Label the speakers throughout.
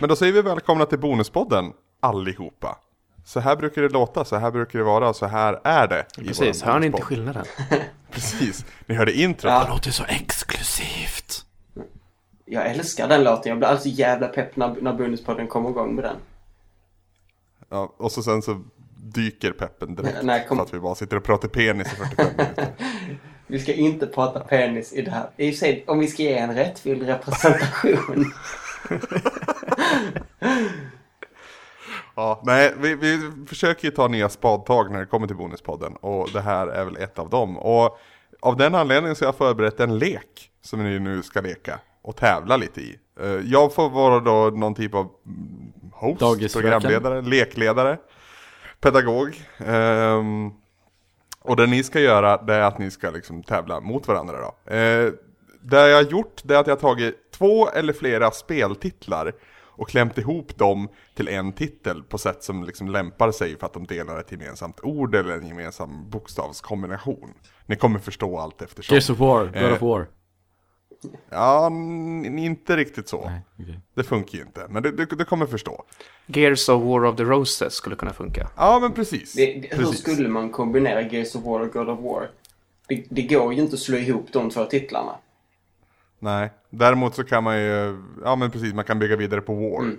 Speaker 1: Men då säger vi välkomna till Bonuspodden allihopa. Så här brukar det låta, så här brukar det vara, så här är det. i
Speaker 2: Precis,
Speaker 1: våran
Speaker 2: hör ni inte
Speaker 1: Bonuspodd.
Speaker 2: skillnaden?
Speaker 1: Precis, ni hörde introt.
Speaker 2: Det låter så exklusivt.
Speaker 3: Jag älskar den låten. Jag blir alltid så jävla pepp när, när bonuspodden kommer igång med den.
Speaker 1: Ja, och så sen så dyker peppen direkt.
Speaker 3: Nej, kom-
Speaker 1: För att vi bara sitter och pratar penis i 45 minuter.
Speaker 3: Vi ska inte prata penis i det här. I och för sig, om vi ska ge en rättvild representation.
Speaker 1: Ja, nej, vi, vi försöker ju ta nya spadtag när det kommer till Bonuspodden och det här är väl ett av dem. Och av den anledningen så har jag förberett en lek som ni nu ska leka och tävla lite i. Eh, Jag får vara då någon typ av mm, host,
Speaker 2: Dagisfröken.
Speaker 1: programledare, lekledare, pedagog. Ehm, och det ni ska göra det är att ni ska liksom tävla mot varandra då. Eh, det jag har gjort det är att jag har tagit två eller flera speltitlar och klämt ihop dem till en titel på sätt som liksom lämpar sig för att de delar ett gemensamt ord eller en gemensam bokstavskombination. Ni kommer förstå allt eftersom.
Speaker 2: Gears of War, God
Speaker 1: Eh,
Speaker 2: of War.
Speaker 1: Ja, n- inte riktigt så.
Speaker 2: Nej, okej.
Speaker 1: Det funkar ju inte, men du, du, du kommer förstå.
Speaker 4: Gears of War of the Roses skulle kunna funka.
Speaker 1: Ja, men precis.
Speaker 3: Det, det, hur
Speaker 1: precis.
Speaker 3: skulle man kombinera Gears of War och God of War? Det, det går ju inte att slå ihop de två titlarna.
Speaker 1: Nej, däremot så kan man ju, ja men precis, man kan bygga vidare på War.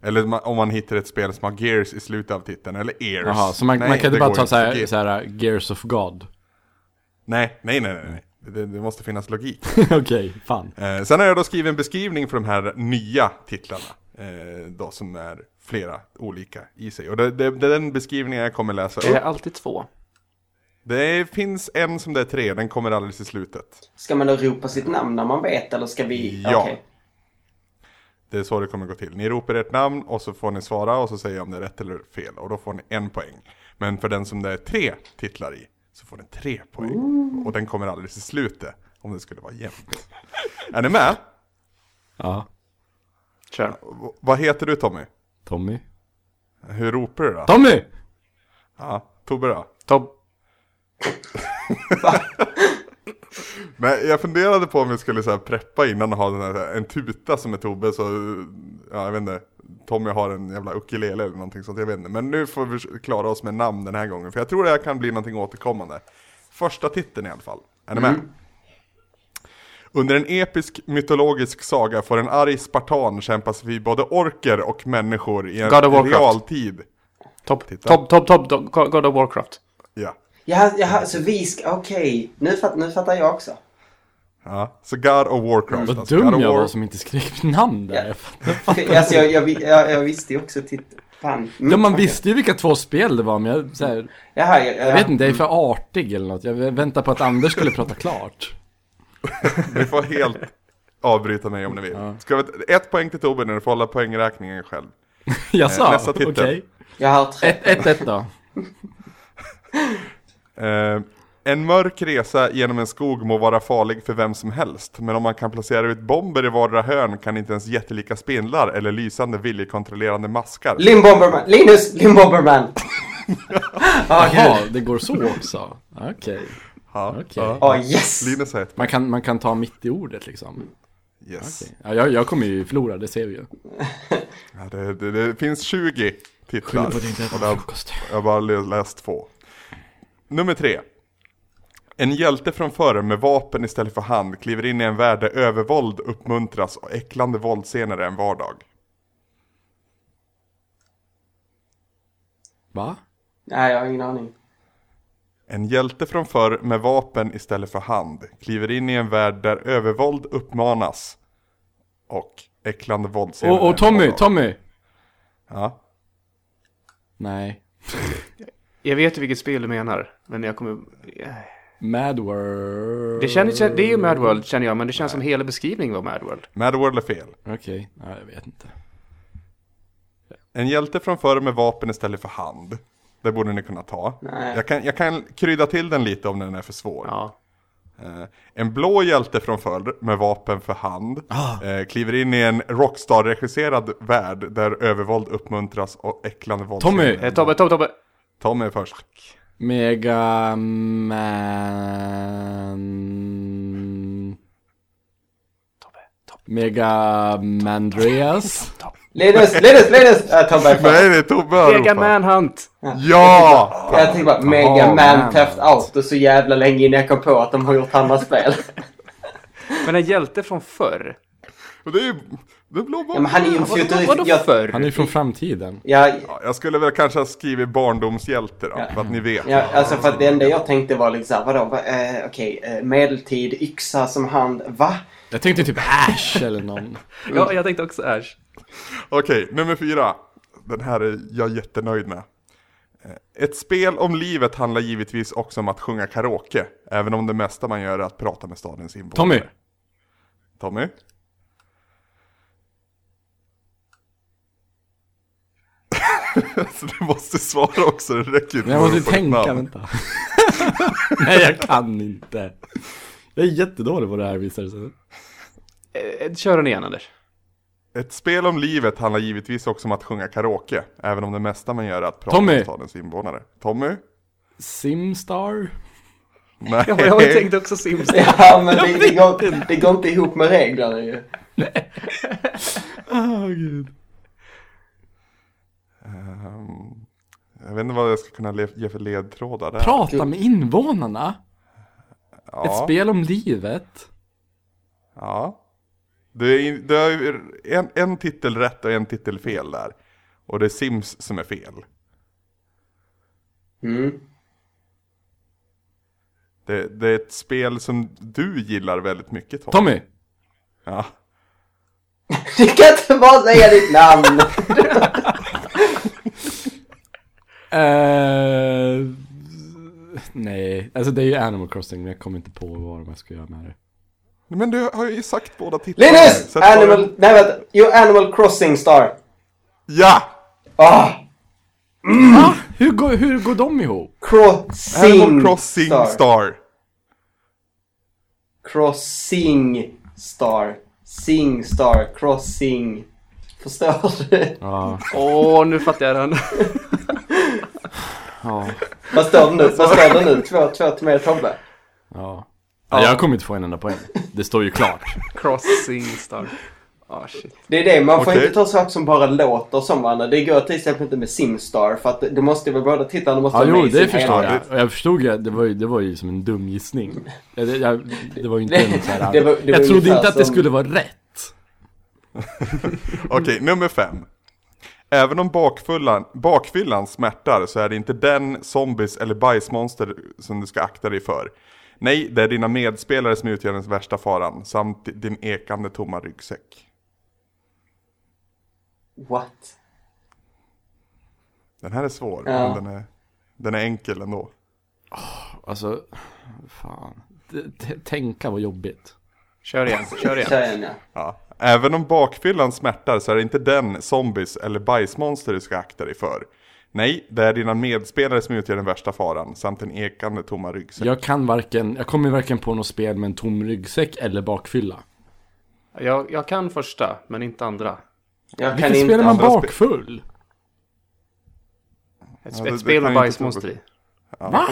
Speaker 1: Eller ma- om man hittar ett spel som har Gears i slutet av titeln, eller Ears.
Speaker 2: Jaha, så man,
Speaker 1: Nej,
Speaker 2: man kan
Speaker 1: det
Speaker 2: inte bara
Speaker 1: går
Speaker 2: ta så här,
Speaker 1: Ge-
Speaker 2: så här uh, Gears of God.
Speaker 1: Nej, nej, nej, nej. nej. Det, det måste finnas logik.
Speaker 2: okej, fan.
Speaker 1: Eh, sen har jag då skrivit en beskrivning för de här nya titlarna. Eh, då som är flera olika i sig. Och det, det, det är den beskrivningen jag kommer läsa
Speaker 4: Det är
Speaker 1: upp.
Speaker 4: alltid två.
Speaker 1: Det finns en som det är tre, den kommer alldeles i slutet.
Speaker 3: Ska man då ropa sitt namn när man vet eller ska vi...
Speaker 1: Ja.
Speaker 3: Okej.
Speaker 1: Det är så det kommer gå till. Ni ropar ert namn och så får ni svara och så säger jag om det är rätt eller fel. Och då får ni en poäng. Men för den som det är tre titlar i så får ni tre poäng. Och den kommer alldeles i slutet. Om det skulle vara jämnt. är ni med?
Speaker 2: Ja,
Speaker 4: Kör.
Speaker 1: V- vad heter du Tommy?
Speaker 2: Tommy.
Speaker 1: Hur ropar du då?
Speaker 2: Tommy!
Speaker 1: Ja, Tobbe då?
Speaker 4: Tob.
Speaker 1: Men jag funderade på om vi skulle så här preppa innan och ha den här, en tuta som är Tobbe så, ja jag vet inte, Tommy har en jävla ukulele eller någonting sånt, jag vet inte. Men nu får vi klara oss med namn den här gången, för jag tror det här kan bli någonting återkommande. Första titeln i alla fall, är ni
Speaker 2: Mm.
Speaker 1: med? Under en episk mytologisk saga får en arg spartan kämpas vid både orker och människor i en
Speaker 4: God of Warcraft.
Speaker 1: realtid.
Speaker 4: Tob.
Speaker 1: Titta.
Speaker 4: Tob. Tob. Tob. Tob. God of Warcraft.
Speaker 1: Ja.
Speaker 3: Jaha, jaha, så vi ska... Okej, nu, fatt, nu fattar jag också.
Speaker 1: ja, så God of Warcraft.
Speaker 2: Vad
Speaker 1: alltså,
Speaker 2: dum
Speaker 1: God of
Speaker 2: jag
Speaker 1: War-
Speaker 2: var som inte skrev namn där.
Speaker 3: Ja.
Speaker 2: Jag fattar.
Speaker 3: alltså, jag, jag, vi- jag, jag visste ju också titeln. Fan. Mm,
Speaker 2: Ja, man
Speaker 3: okej.
Speaker 2: visste ju vilka två spel det var, men jag, så här,
Speaker 3: Jaha, jag, jag,
Speaker 2: jag vet inte, jag är för artig eller något. Jag väntar på att Anders skulle prata klart.
Speaker 1: Ni får helt avbryta mig om ni vill. Ska vi, ett poäng till Tobbe när du får hålla poängräkningen själv. Eh,
Speaker 2: Jaså?
Speaker 1: nästa titel.
Speaker 2: Okej.
Speaker 3: jag har tre.
Speaker 2: 1-1 då.
Speaker 1: Eh, en mörk resa genom en skog må vara farlig för vem som helst, men om man kan placera ut bomber i vardera hörn kan inte ens jättelika spindlar eller lysande viljekontrollerande maskar.
Speaker 3: Lin Bomberman. Linus Lin Bomberman.
Speaker 1: Ah,
Speaker 3: Åh,
Speaker 2: Jaha,
Speaker 3: gud.
Speaker 2: det går så också. Okej.
Speaker 1: Ja,
Speaker 2: okej.
Speaker 1: ja.
Speaker 3: Åh, Ah, yes.
Speaker 1: Linus har ett
Speaker 2: Man, kan, man kan ta mitt i ordet liksom.
Speaker 1: Yes.
Speaker 2: Ja, jag, jag kommer ju förlora, det ser vi ju.
Speaker 1: Ja, det, det, det finns 20 titlar.
Speaker 2: Skyller på att jag inte
Speaker 1: Och
Speaker 2: äter
Speaker 1: det har-
Speaker 2: frukost.
Speaker 1: Jag har bara lä- läst två. Nummer tre. En hjälte från förr med vapen istället för hand kliver in i en värld där övervåld uppmuntras och äcklande våldsscener är en vardag.
Speaker 2: Va?
Speaker 3: Nej, jag har ingen aning.
Speaker 1: En hjälte från förr med vapen istället för hand kliver in i en värld där övervåld uppmanas och äcklande våldsscener
Speaker 2: Och,
Speaker 1: är en
Speaker 2: och Tommy,
Speaker 1: vardag.
Speaker 2: Tommy!
Speaker 1: Ja.
Speaker 2: Nej.
Speaker 4: Jag vet vilket spel du menar, men jag kommer...
Speaker 2: Mad World.
Speaker 4: Det, känns, det är ju Mad World känner jag, men det känns som hela beskrivningen var Mad World.
Speaker 1: Mad World är fel.
Speaker 2: Okej, ja, jag vet inte.
Speaker 1: En hjälte från förr med vapen istället för hand. Det borde ni kunna ta.
Speaker 3: Nej.
Speaker 1: Jag kan, jag kan krydda till den lite om den är för svår.
Speaker 4: Ja.
Speaker 1: Eh, En blå hjälte från förr med vapen för hand eh, kliver in i en rockstar-regisserad värld där övervåld uppmuntras och äcklande våld.
Speaker 2: Tommy!
Speaker 4: Eh, Tobbe, Tobbe, Tobbe!
Speaker 1: Tommy är först.
Speaker 2: Mega Man...
Speaker 4: Tobbe, Tobbe,
Speaker 2: Mega Mandreas?
Speaker 4: Tobbe.
Speaker 3: Linus, Linus, Linus! Jag tar mig
Speaker 1: Nej
Speaker 3: först.
Speaker 1: det är Tobbe har
Speaker 4: Mega
Speaker 1: ropat.
Speaker 4: Manhunt!
Speaker 1: Ja!
Speaker 3: Jag tänkte bara, Mega
Speaker 2: Jaha,
Speaker 3: Man
Speaker 2: man.
Speaker 3: Theft Auto så jävla länge innan jag kom på att de har gjort andra spel.
Speaker 4: Men en hjälte från förr?
Speaker 1: Och det är ju... Det är blå
Speaker 3: Ja, men han är ju en
Speaker 4: Vadå,
Speaker 3: futurist.
Speaker 4: vadå
Speaker 3: Jag,
Speaker 4: förr?
Speaker 2: Han är ju från framtiden.
Speaker 3: jag,
Speaker 1: Ja, jag skulle väl kanske ha skrivit barndomshjälte då,
Speaker 3: Ja.
Speaker 1: för att ni vet.
Speaker 3: Ja, alltså för att det enda jag tänkte var liksom, vadå, va, eh, okej, eh, medeltid, yxa som hand, va?
Speaker 2: Jag tänkte typ Ash eller någon.
Speaker 4: Ja, jag tänkte också Ash.
Speaker 1: Okej, nummer fyra. Den här är jag jättenöjd med. Eh, Ett spel om livet handlar givetvis också om att sjunga karaoke, även om det mesta man gör är att prata med stadens invånare.
Speaker 2: Tommy!
Speaker 1: Tommy? Så du måste svara också, det räcker ju inte
Speaker 2: Men jag
Speaker 1: bara
Speaker 2: måste
Speaker 1: att få ditt
Speaker 2: tänka,
Speaker 1: namn.
Speaker 2: vänta. Nej, jag kan inte. Jag är jättedålig på det här visar det sig.
Speaker 4: Eh, Kör den igen Anders.
Speaker 1: Ett spel om livet handlar givetvis också om att sjunga karaoke, även om det mesta man gör är att prata
Speaker 2: Tommy!
Speaker 1: med stadens invånare. Tommy?
Speaker 2: Simstar?
Speaker 1: Nej.
Speaker 4: Ja, jag tänkte också Sims.
Speaker 3: Ja, men det, det, går, det går inte ihop med reglerna ju.
Speaker 2: Åh gud.
Speaker 1: Ehm, jag vet inte vad jag ska kunna le- ge för ledtrådar där.
Speaker 2: Prata med invånarna?
Speaker 1: ja,
Speaker 2: Ett spel om livet?
Speaker 1: Ja. Det är, in- det är en, en titel rätt och en titel fel där. Och det är Sims som är fel.
Speaker 3: Mm.
Speaker 1: Det, det är ett spel som du gillar väldigt mycket Tom.
Speaker 2: Tommy!
Speaker 1: Ja.
Speaker 3: Du kan inte bara säga ditt namn!
Speaker 2: Eh, nej, alltså det är ju Animal Crossing men jag kommer inte på vad jag ska göra med det.
Speaker 1: Men du har ju sagt båda titlarna.
Speaker 3: Linus!
Speaker 1: Så att-
Speaker 3: Animal, nej vänta, jo Animal Crossing Star.
Speaker 1: Ja!
Speaker 3: Ah!
Speaker 2: Va? Hur, går, hur går de ihop?
Speaker 3: Crossing
Speaker 1: Animal Crossing Star.
Speaker 3: Crossing Star. Sing Star. Crossing. Förstår du?
Speaker 2: Ja.
Speaker 4: Åh, nu fattar jag den.
Speaker 2: Ja.
Speaker 3: Vad står det nu? Vad står det nu? Två, två till mig och Tobbe.
Speaker 2: ja. Nej, jag kommer inte få en enda poäng. Det står ju klart.
Speaker 4: Crossing Star. Ah, shit.
Speaker 3: Det är det, man får
Speaker 1: Okej.
Speaker 3: inte ta saker som bara låter som varandra. Det går till exempel inte med Simstar för att det måste vara båda tittarna måste
Speaker 2: Ja,
Speaker 3: vara
Speaker 2: jo,
Speaker 3: med i
Speaker 2: det
Speaker 3: sin
Speaker 2: förstår
Speaker 3: helhet.
Speaker 2: jag. Och jag förstod ju, att det var ju, det var ju som en dum gissning. Ja, Det, jag, det var ju inte en så här...
Speaker 3: Det var- det var
Speaker 2: jag trodde
Speaker 3: ungefär
Speaker 2: inte att det
Speaker 3: som-
Speaker 2: skulle vara rätt.
Speaker 1: Okej, nummer fem. Även om bakfyllan, bakfyllan smärtar så är det inte den, zombies eller bajsmonster som du ska akta dig för. Nej, det är dina medspelare som utgör den värsta faran, samt din ekande tomma ryggsäck.
Speaker 3: What?
Speaker 1: Den här är svår,
Speaker 3: Ja.
Speaker 1: men den är, den är enkel ändå.
Speaker 2: Alltså, fan. T- t- Tänka vad jobbigt.
Speaker 4: Kör igen, kör igen.
Speaker 3: Kör igen ja.
Speaker 1: Ja. Även om bakfyllan smärtar så är det inte den, zombies eller bajsmonster du ska akta dig för. Nej, det är dina medspelare som utgör den värsta faran, samt din ekande tomma ryggsäck.
Speaker 2: Jag kan varken, jag kommer varken på något spel med en tom ryggsäck eller bakfylla.
Speaker 4: Jag, jag kan första, men inte andra.
Speaker 3: Jag kan
Speaker 2: Vilket
Speaker 3: inte.
Speaker 2: spel är man
Speaker 1: andra spe-
Speaker 2: bakfull?
Speaker 4: Ett,
Speaker 1: Ja, det- det
Speaker 4: ett
Speaker 1: kan
Speaker 4: spel med
Speaker 1: jag inte
Speaker 4: bajsmonster
Speaker 1: tro
Speaker 4: i.
Speaker 2: Va?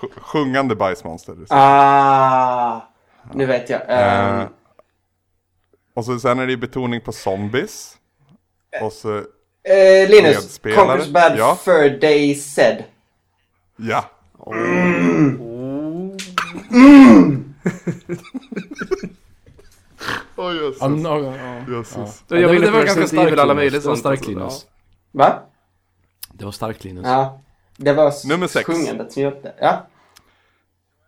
Speaker 1: Sj- Sjungande bajsmonster.
Speaker 3: Ah! Nu vet jag. Ehm,
Speaker 1: Eh, Och så sen är det ju betoning på zombies. Och så,
Speaker 3: eh, Linus,
Speaker 1: medspelare.
Speaker 3: Conquers Bad
Speaker 1: Ja.
Speaker 3: Fur Day Said.
Speaker 1: ja. Åh jösses.
Speaker 2: Ja, men, ja, ja.
Speaker 1: jösses.
Speaker 4: Då gör vi
Speaker 2: det,
Speaker 4: lite
Speaker 2: det var ganska
Speaker 4: Resident Evil,
Speaker 2: starkt
Speaker 4: alla
Speaker 2: Linus.
Speaker 4: möjliga
Speaker 2: Det var
Speaker 4: sånt.
Speaker 2: starkt
Speaker 4: Alltså,
Speaker 2: Linus.
Speaker 3: Va?
Speaker 2: Det var starkt Linus.
Speaker 3: Ja. Det var s-
Speaker 1: Nummer sex.
Speaker 3: sjungandet som hjälpte. Ja.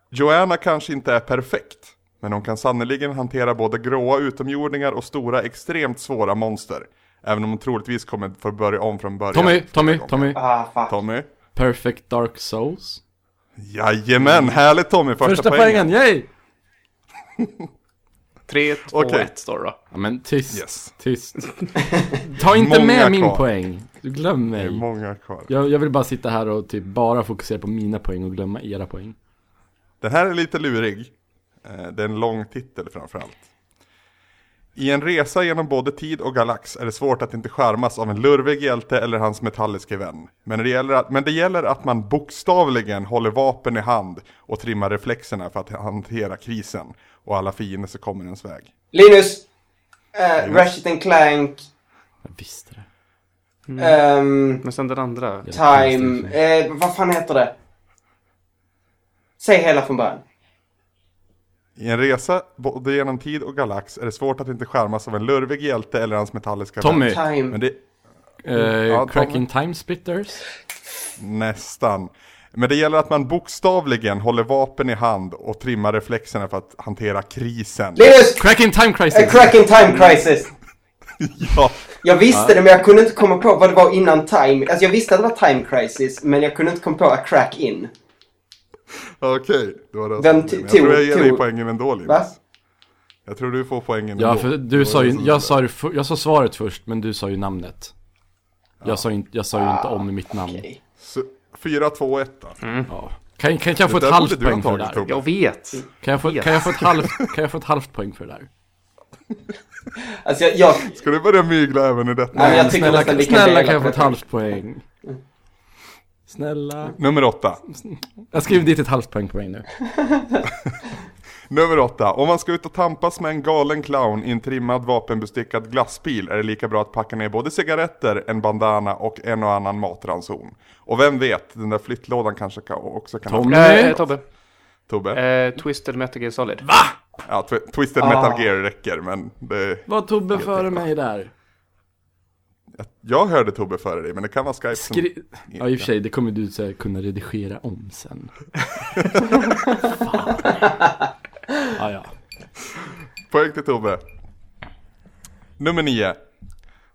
Speaker 1: Joanna kanske inte är perfekt. Men hon kan sannerligen hantera både gråa utomjordingar och stora extremt svåra monster. Även om hon troligtvis kommer få börja om från början.
Speaker 2: Tommy,
Speaker 1: flera
Speaker 2: Tommy,
Speaker 1: gånger.
Speaker 2: Tommy.
Speaker 3: Ah, fuck.
Speaker 1: Tommy.
Speaker 2: Perfect Dark Souls.
Speaker 1: Jajamän, härligt Tommy, första,
Speaker 2: Första poängen, yay!
Speaker 4: Tre, två,
Speaker 1: Okej.
Speaker 4: ett står det då.
Speaker 2: Ja, men tyst,
Speaker 1: Yes.
Speaker 2: tyst. Ta inte
Speaker 1: Många
Speaker 2: med min
Speaker 1: kvar.
Speaker 2: poäng. Du glöm
Speaker 1: Det är
Speaker 2: mig.
Speaker 1: många kvar.
Speaker 2: Jag, jag vill bara sitta här och typ bara fokusera på mina poäng och glömma era poäng.
Speaker 1: Den här är lite lurig. Eh, Det är en lång titel framförallt. I en resa genom både tid och galax är det svårt att inte skärmas av en lurvig hjälte eller hans metalliske vän. Men det gäller att, men det gäller att man bokstavligen håller vapen i hand och trimmar reflexerna för att hantera krisen och alla fiender som kommer ens väg.
Speaker 3: Linus! eh, Ratchet and Clank
Speaker 2: Jag visste det.
Speaker 1: Mm.
Speaker 3: Ehm,
Speaker 4: Men sen den andra.
Speaker 2: Ja.
Speaker 3: time... Eh, vad fan heter det? Säg hela från början.
Speaker 1: I en resa både genom tid och galax är det svårt att inte skärmas av en lurvig hjälte eller hans metalliska vän.
Speaker 2: Tommy!
Speaker 1: Men
Speaker 3: Time...
Speaker 1: det,
Speaker 2: Eh,
Speaker 1: Mm. Ja,
Speaker 2: cracking Time Splitters.
Speaker 1: Nästan. Men det gäller att man bokstavligen håller vapen i hand och trimmar reflexerna för att hantera krisen.
Speaker 3: Linus!
Speaker 2: Cracking Time
Speaker 3: A
Speaker 2: Crisis!
Speaker 1: Eh,
Speaker 3: cracking time crisis!
Speaker 1: Mm. Ja,
Speaker 3: Jag visste det men jag kunde inte komma på vad det var innan time. Alltså jag visste att det var time crisis men jag kunde inte komma på a crack in.
Speaker 1: okej. Det var det
Speaker 3: Vem
Speaker 1: som-
Speaker 3: t-
Speaker 1: Jag tror jag
Speaker 3: tog-
Speaker 1: ger dig
Speaker 3: tog-
Speaker 1: poängen ändå Linus.
Speaker 3: Va?
Speaker 1: Jag tror du får poängen
Speaker 2: Ja,
Speaker 1: ändå.
Speaker 2: för
Speaker 1: Det var
Speaker 2: du sa
Speaker 1: det
Speaker 2: ju,
Speaker 1: som-
Speaker 2: jag sa, det för, jag sa svaret först, men du sa ju namnet. Jag sa, inte, jag sa ju inte om mitt namn.
Speaker 3: Okej.
Speaker 1: Så, 4, 2, 1 då.
Speaker 2: Ja. Kan, kan, kan jag få ett
Speaker 1: där
Speaker 2: halvt
Speaker 1: borde du
Speaker 2: poäng för det
Speaker 1: antagligen
Speaker 2: där?
Speaker 1: Tobbe.
Speaker 4: Jag vet. Eh,
Speaker 2: Kan jag, få,
Speaker 4: Yes.
Speaker 2: kan, jag få ett halvt, kan jag få ett halvt poäng för det där?
Speaker 3: Alltså jag... jag
Speaker 1: Ska du börja mygla även i detta?
Speaker 3: Nej, men jag tycker
Speaker 2: Snälla,
Speaker 3: nästan vi kan
Speaker 2: snälla
Speaker 3: dela
Speaker 2: kan jag
Speaker 3: på
Speaker 2: få ett
Speaker 3: det.
Speaker 2: halvt poäng? Snälla.
Speaker 1: Nummer 8.
Speaker 2: Jag skriver dit ett halvt poäng på mig nu.
Speaker 1: Nummer 8. Om man ska ut och tampas med en galen clown i en trimmad vapenbestyckad glassbil är det lika bra att packa ner både cigaretter, en bandana och en och annan matranson. Och vem vet, den där flyttlådan kanske kan, också kan
Speaker 2: Tom.
Speaker 1: ha
Speaker 4: Eh,
Speaker 2: Nej.
Speaker 4: eh, Tobbe.
Speaker 1: Tobbe.
Speaker 4: Eh, Twisted Metal Gear Solid.
Speaker 1: Ja, tw- Twisted
Speaker 3: Ah.
Speaker 1: Metal Gear räcker, men det...
Speaker 2: Var Tobbe före mig där?
Speaker 1: Jag hörde Tobbe före dig, men det kan vara Skype som...
Speaker 2: Skri... Ja, i och för sig, det kommer du så här, kunna redigera om sen. Fan. Ja, ja.
Speaker 1: Poäng till Tobbe. Nummer 9.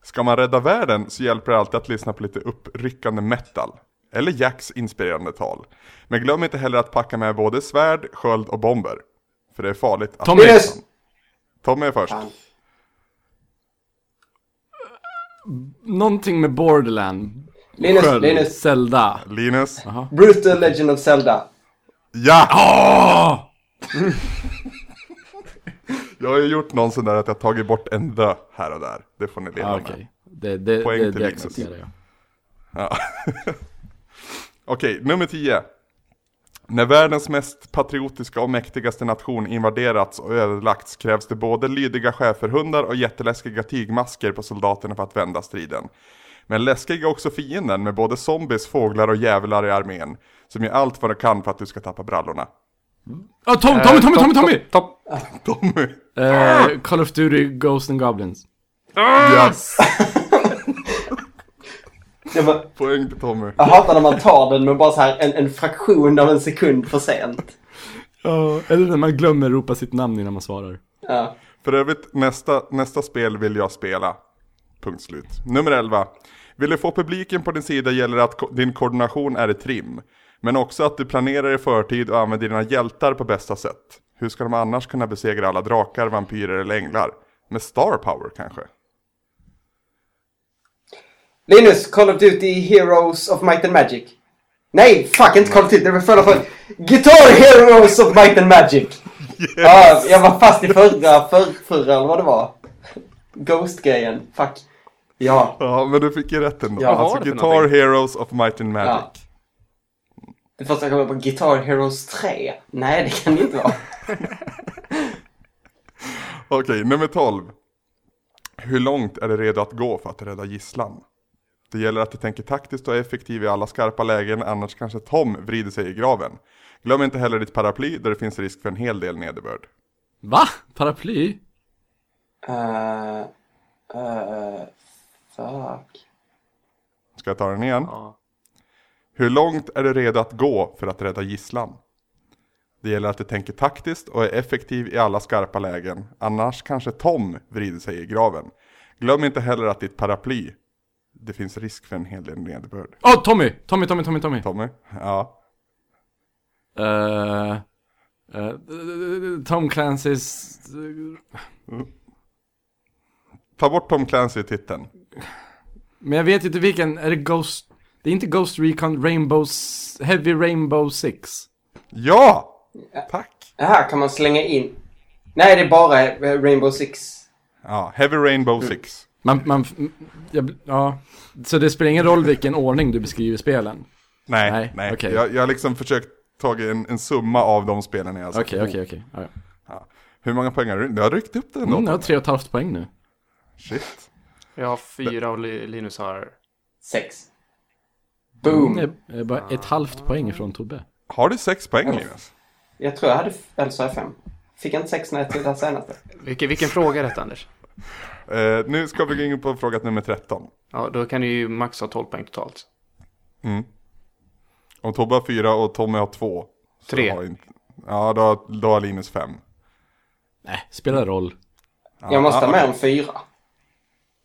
Speaker 1: Ska man rädda världen så hjälper det alltid att lyssna på lite uppryckande metal. Eller Jacks inspirerande tal. Men glöm inte heller att packa med både svärd, sköld och bomber. För det är farligt att...
Speaker 2: Tommy!
Speaker 3: Linus!
Speaker 1: Tommy är först.
Speaker 3: Fan.
Speaker 2: Någonting med Borderland.
Speaker 3: Linus,
Speaker 2: Sköld,
Speaker 3: Linus.
Speaker 2: Zelda.
Speaker 1: Linus.
Speaker 3: Brutal Legend of Zelda.
Speaker 1: Ja!
Speaker 2: Åh!
Speaker 1: Jag har ju gjort någon sån där att jag har tagit bort en dö här och där. Det får ni leva med.
Speaker 2: Ja, Ah, okej. Det, det,
Speaker 1: Poäng
Speaker 2: det,
Speaker 1: till
Speaker 2: det
Speaker 1: Linus.
Speaker 2: accepterar jag.
Speaker 1: Okej, nummer 10. När världens mest patriotiska och mäktigaste nation invaderats och ödelagts krävs det både lydiga schäferhundar och jätteläskiga tygmasker på soldaterna för att vända striden. Men läskig är också fienden med både zombies, fåglar och djävlar i armén som gör allt vad de kan för att du ska tappa brallorna.
Speaker 2: Ah, Tom, Tommy, Tommy, Tommy, Tommy!
Speaker 4: Eh, Topp.
Speaker 1: Tommy!
Speaker 2: Eh, Call of Duty Ghosts and Goblins.
Speaker 1: Yes!
Speaker 3: Det var,
Speaker 1: Poäng till Tommy.
Speaker 3: jag hatar när man tar den men bara så här en, en fraktion av en sekund för sent.
Speaker 2: Ja, eller när man glömmer ropa sitt namn innan man svarar.
Speaker 3: Ja.
Speaker 1: För övrigt, nästa, nästa spel vill jag spela. Punkt slut. Nummer 11. Vill du få publiken på din sida gäller det att ko- din koordination är i trim. Men också att du planerar i förtid och använder dina hjältar på bästa sätt. Hur ska de annars kunna besegra alla drakar, vampyrer eller änglar? Med star power kanske?
Speaker 3: Linus, Call of Duty Heroes of Might and Magic. Nej, fuck inte Call of Duty, det var förra för Guitar Heroes of Might and Magic. Ja, jag var fast i förra, för, förra eller vad det var. Ghost-grejen, fuck. Ja,
Speaker 1: Ja, men du fick ju rätt ändå.
Speaker 3: Ja.
Speaker 1: alltså
Speaker 4: Vad var det för
Speaker 1: Guitar
Speaker 4: någonting?
Speaker 1: Heroes of Might and Magic.
Speaker 3: Ja. det första jag kommer på Guitar Heroes 3. Nej, det kan det inte vara.
Speaker 1: Okej, nummer 12. Hur långt är du redo att gå för att rädda gisslan? Det gäller att du tänker taktiskt och är effektiv i alla skarpa lägen, annars kanske Tom vrider sig i graven. Glöm inte heller ditt paraply, där det finns risk för en hel del nederbörd.
Speaker 2: Va? Paraply?
Speaker 3: Uh, uh, fuck.
Speaker 1: Ska jag ta den igen?
Speaker 4: Ja.
Speaker 1: Hur långt är du redo att gå för att rädda gisslan? Det gäller att du tänker taktiskt och är effektiv i alla skarpa lägen, annars kanske Tom vrider sig i graven. Glöm inte heller att ditt paraply, det finns risk för en hel del nederbörd.
Speaker 2: Åh, Tommy! Tommy, Tommy, Tommy, Tommy!
Speaker 1: Tommy? Ja.
Speaker 2: Eh, eh, Tom Clancys...
Speaker 1: Ta bort Tom Clancy i titeln.
Speaker 2: Men jag vet inte vilken, är det Ghost... Det är inte Ghost Recon Rainbow... S- Heavy Rainbow 6?
Speaker 1: Ja! Tack!
Speaker 3: Det här kan man slänga in. Nej, det är bara eh, Rainbow Six.
Speaker 1: Ja, Heavy Rainbow Six.
Speaker 2: Man, man, jag, ja. Så det spelar ingen roll vilken ordning du beskriver spelen?
Speaker 1: Nej, nej.
Speaker 2: Nej, okej.
Speaker 1: Jag, jag har liksom försökt ta en, en summa av de spelen jag har sett.
Speaker 2: Okej, okej, okej. Ja, ja.
Speaker 1: Hur många poäng har du? Du har ryckt upp det ändå.
Speaker 2: Mm, jag har tre och ett halvt poäng nu.
Speaker 1: Shit.
Speaker 4: Jag har fyra och Li- Linus har...
Speaker 3: Sex. Boom.
Speaker 2: Nej, eh, bara ett halvt poäng från Tobbe.
Speaker 1: Har du sex poäng Linus?
Speaker 3: Jag tror jag hade, f- eller så har jag fem. Fick jag inte sex när jag tog det här senaste?
Speaker 4: Vilken, vilken fråga är detta Anders?
Speaker 1: Eh, nu ska vi gå in på fråga nummer 13.
Speaker 4: Ja, då kan du ju max ha 12 poäng totalt.
Speaker 1: Om Tobbe har fyra och Tommy har två. så
Speaker 4: Tre.
Speaker 1: Har inte... Ja, då, har- då har Linus fem.
Speaker 2: Nej, spelar roll.
Speaker 3: jag måste
Speaker 1: ja,
Speaker 3: ha mer än fyra.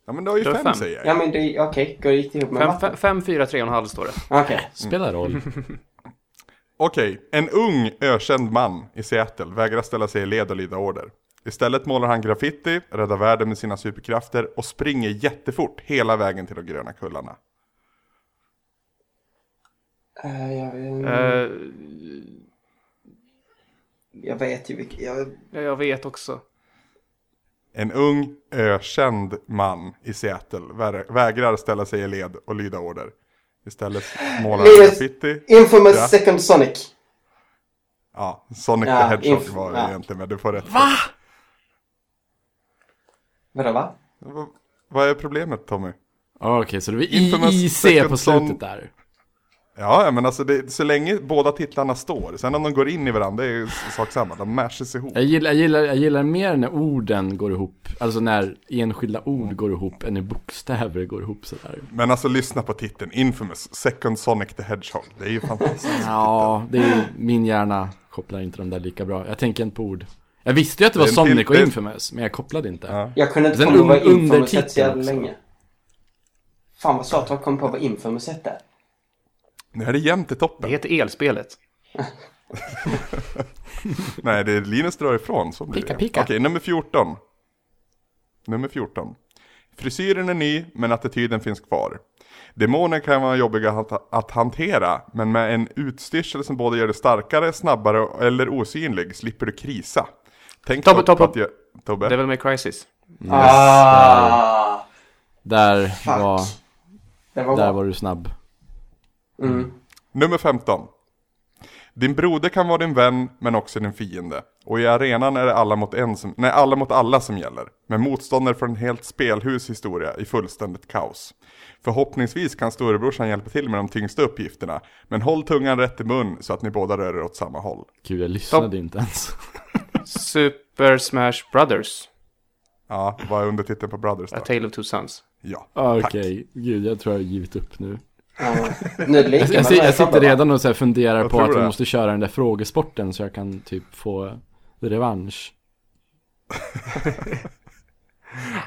Speaker 1: Ja, men du har ju
Speaker 4: Du har
Speaker 1: fem,
Speaker 4: fem.
Speaker 1: säger jag.
Speaker 3: Ja men det, okej, går det gick ihop med
Speaker 4: Fem,
Speaker 3: matten?
Speaker 4: fe- fem, fyra, tre och en halv står det.
Speaker 3: Okej.
Speaker 2: Spelar roll.
Speaker 1: Okej, en ung ökänd man i Seattle vägrar ställa sig i led och lyda order. Istället målar han graffiti, räddar världen med sina superkrafter och springer jättefort hela vägen till de gröna kullarna.
Speaker 3: Eh, jag,
Speaker 4: Eh,
Speaker 2: Mm.
Speaker 3: jag vet ju vilken... Jag,
Speaker 4: Eh, jag vet också.
Speaker 1: En ung ökänd man i Seattle vä- vägrar ställa sig i led och lyda order. Istället målar han
Speaker 3: Linus,
Speaker 1: graffiti.
Speaker 3: infamous
Speaker 1: Ja.
Speaker 3: second Sonic.
Speaker 1: Ja, Sonic
Speaker 3: Ja,
Speaker 1: the Hedgehog
Speaker 3: inf-
Speaker 1: var det
Speaker 3: ja.
Speaker 1: egentligen, men du får rätt.
Speaker 3: Vadå va?
Speaker 1: Va- Vad är problemet Tommy?
Speaker 2: Okej, så det var
Speaker 1: Infamous
Speaker 2: IIC
Speaker 1: second
Speaker 2: på
Speaker 1: son-
Speaker 2: slutet där.
Speaker 1: Ja, ja, men alltså det, så länge båda titlarna står. Sen om de går in i varandra, det är ju sak samma. De mashas ihop.
Speaker 2: Jag gillar, jag, gillar, jag gillar mer när orden går ihop, alltså när enskilda ord går ihop än när bokstäver går ihop sådär.
Speaker 1: Men alltså lyssna på titeln, Infamous, Second Sonic the Hedgehog. Det är ju fantastiskt.
Speaker 2: Ja, det är ju, min hjärna kopplar inte de där lika bra. Jag tänker inte på ord. Jag visste ju att det var
Speaker 1: Det är en
Speaker 2: Sonic
Speaker 1: till-
Speaker 2: och
Speaker 1: det-
Speaker 2: Infamous, men jag kopplade inte.
Speaker 1: Ja.
Speaker 3: Jag kunde inte
Speaker 2: Den
Speaker 3: komma på vad
Speaker 2: un-
Speaker 3: infamous hette så
Speaker 2: undertiteln
Speaker 3: jävla
Speaker 2: också.
Speaker 3: länge. Fan vad svårt att komma på vad infamous hette.
Speaker 1: Nu är det jämnt i
Speaker 4: Det
Speaker 1: toppen.
Speaker 4: heter elspelet.
Speaker 1: Nej, det är Linus drar ifrån. Så blir
Speaker 2: Pika,
Speaker 1: det.
Speaker 2: pika.
Speaker 1: Okej, nummer 14. Nummer 14. Frisyren är ny, men attityden finns kvar. Demoner kan vara jobbiga att- att hantera, men med en utstyrsel som både gör dig starkare, snabbare eller osynlig slipper du krisa. Tänk
Speaker 4: Tobbe,
Speaker 1: dock
Speaker 4: Tobbe.
Speaker 1: på att jag... Tobbe.
Speaker 4: Devil May Crisis.
Speaker 3: Ah,
Speaker 2: Där,
Speaker 3: fuck.
Speaker 2: var,
Speaker 3: Det
Speaker 2: där
Speaker 3: var bra. Mm,
Speaker 2: var du snabb.
Speaker 1: Nummer 15. Din broder kan vara din vän, men också din fiende. Och i arenan är det alla mot, en som, nej, alla, mot alla som gäller. Med motståndare från ett helt spelhus historia i fullständigt kaos. Förhoppningsvis kan storebrorsan hjälpa till med de tyngsta uppgifterna. Men håll tungan rätt i mun så att ni båda rör er åt samma håll.
Speaker 2: Gud, jag lyssnade inte ens.
Speaker 4: Super Smash Brothers.
Speaker 1: Ja, vad är undertiteln på Brothers
Speaker 4: A
Speaker 1: då?
Speaker 4: Tale of Two Sons.
Speaker 1: Ja,
Speaker 2: Okej,
Speaker 1: tack.
Speaker 2: gud, jag tror jag har givit upp nu.
Speaker 3: Ja. Nu är det lika
Speaker 2: Jag, jag,
Speaker 3: med mig,
Speaker 2: jag
Speaker 3: Tobbe,
Speaker 2: sitter
Speaker 3: va?
Speaker 2: redan och så här funderar på
Speaker 1: tror
Speaker 2: att
Speaker 1: det.
Speaker 2: jag måste köra den där frågesporten så jag kan typ få revansch.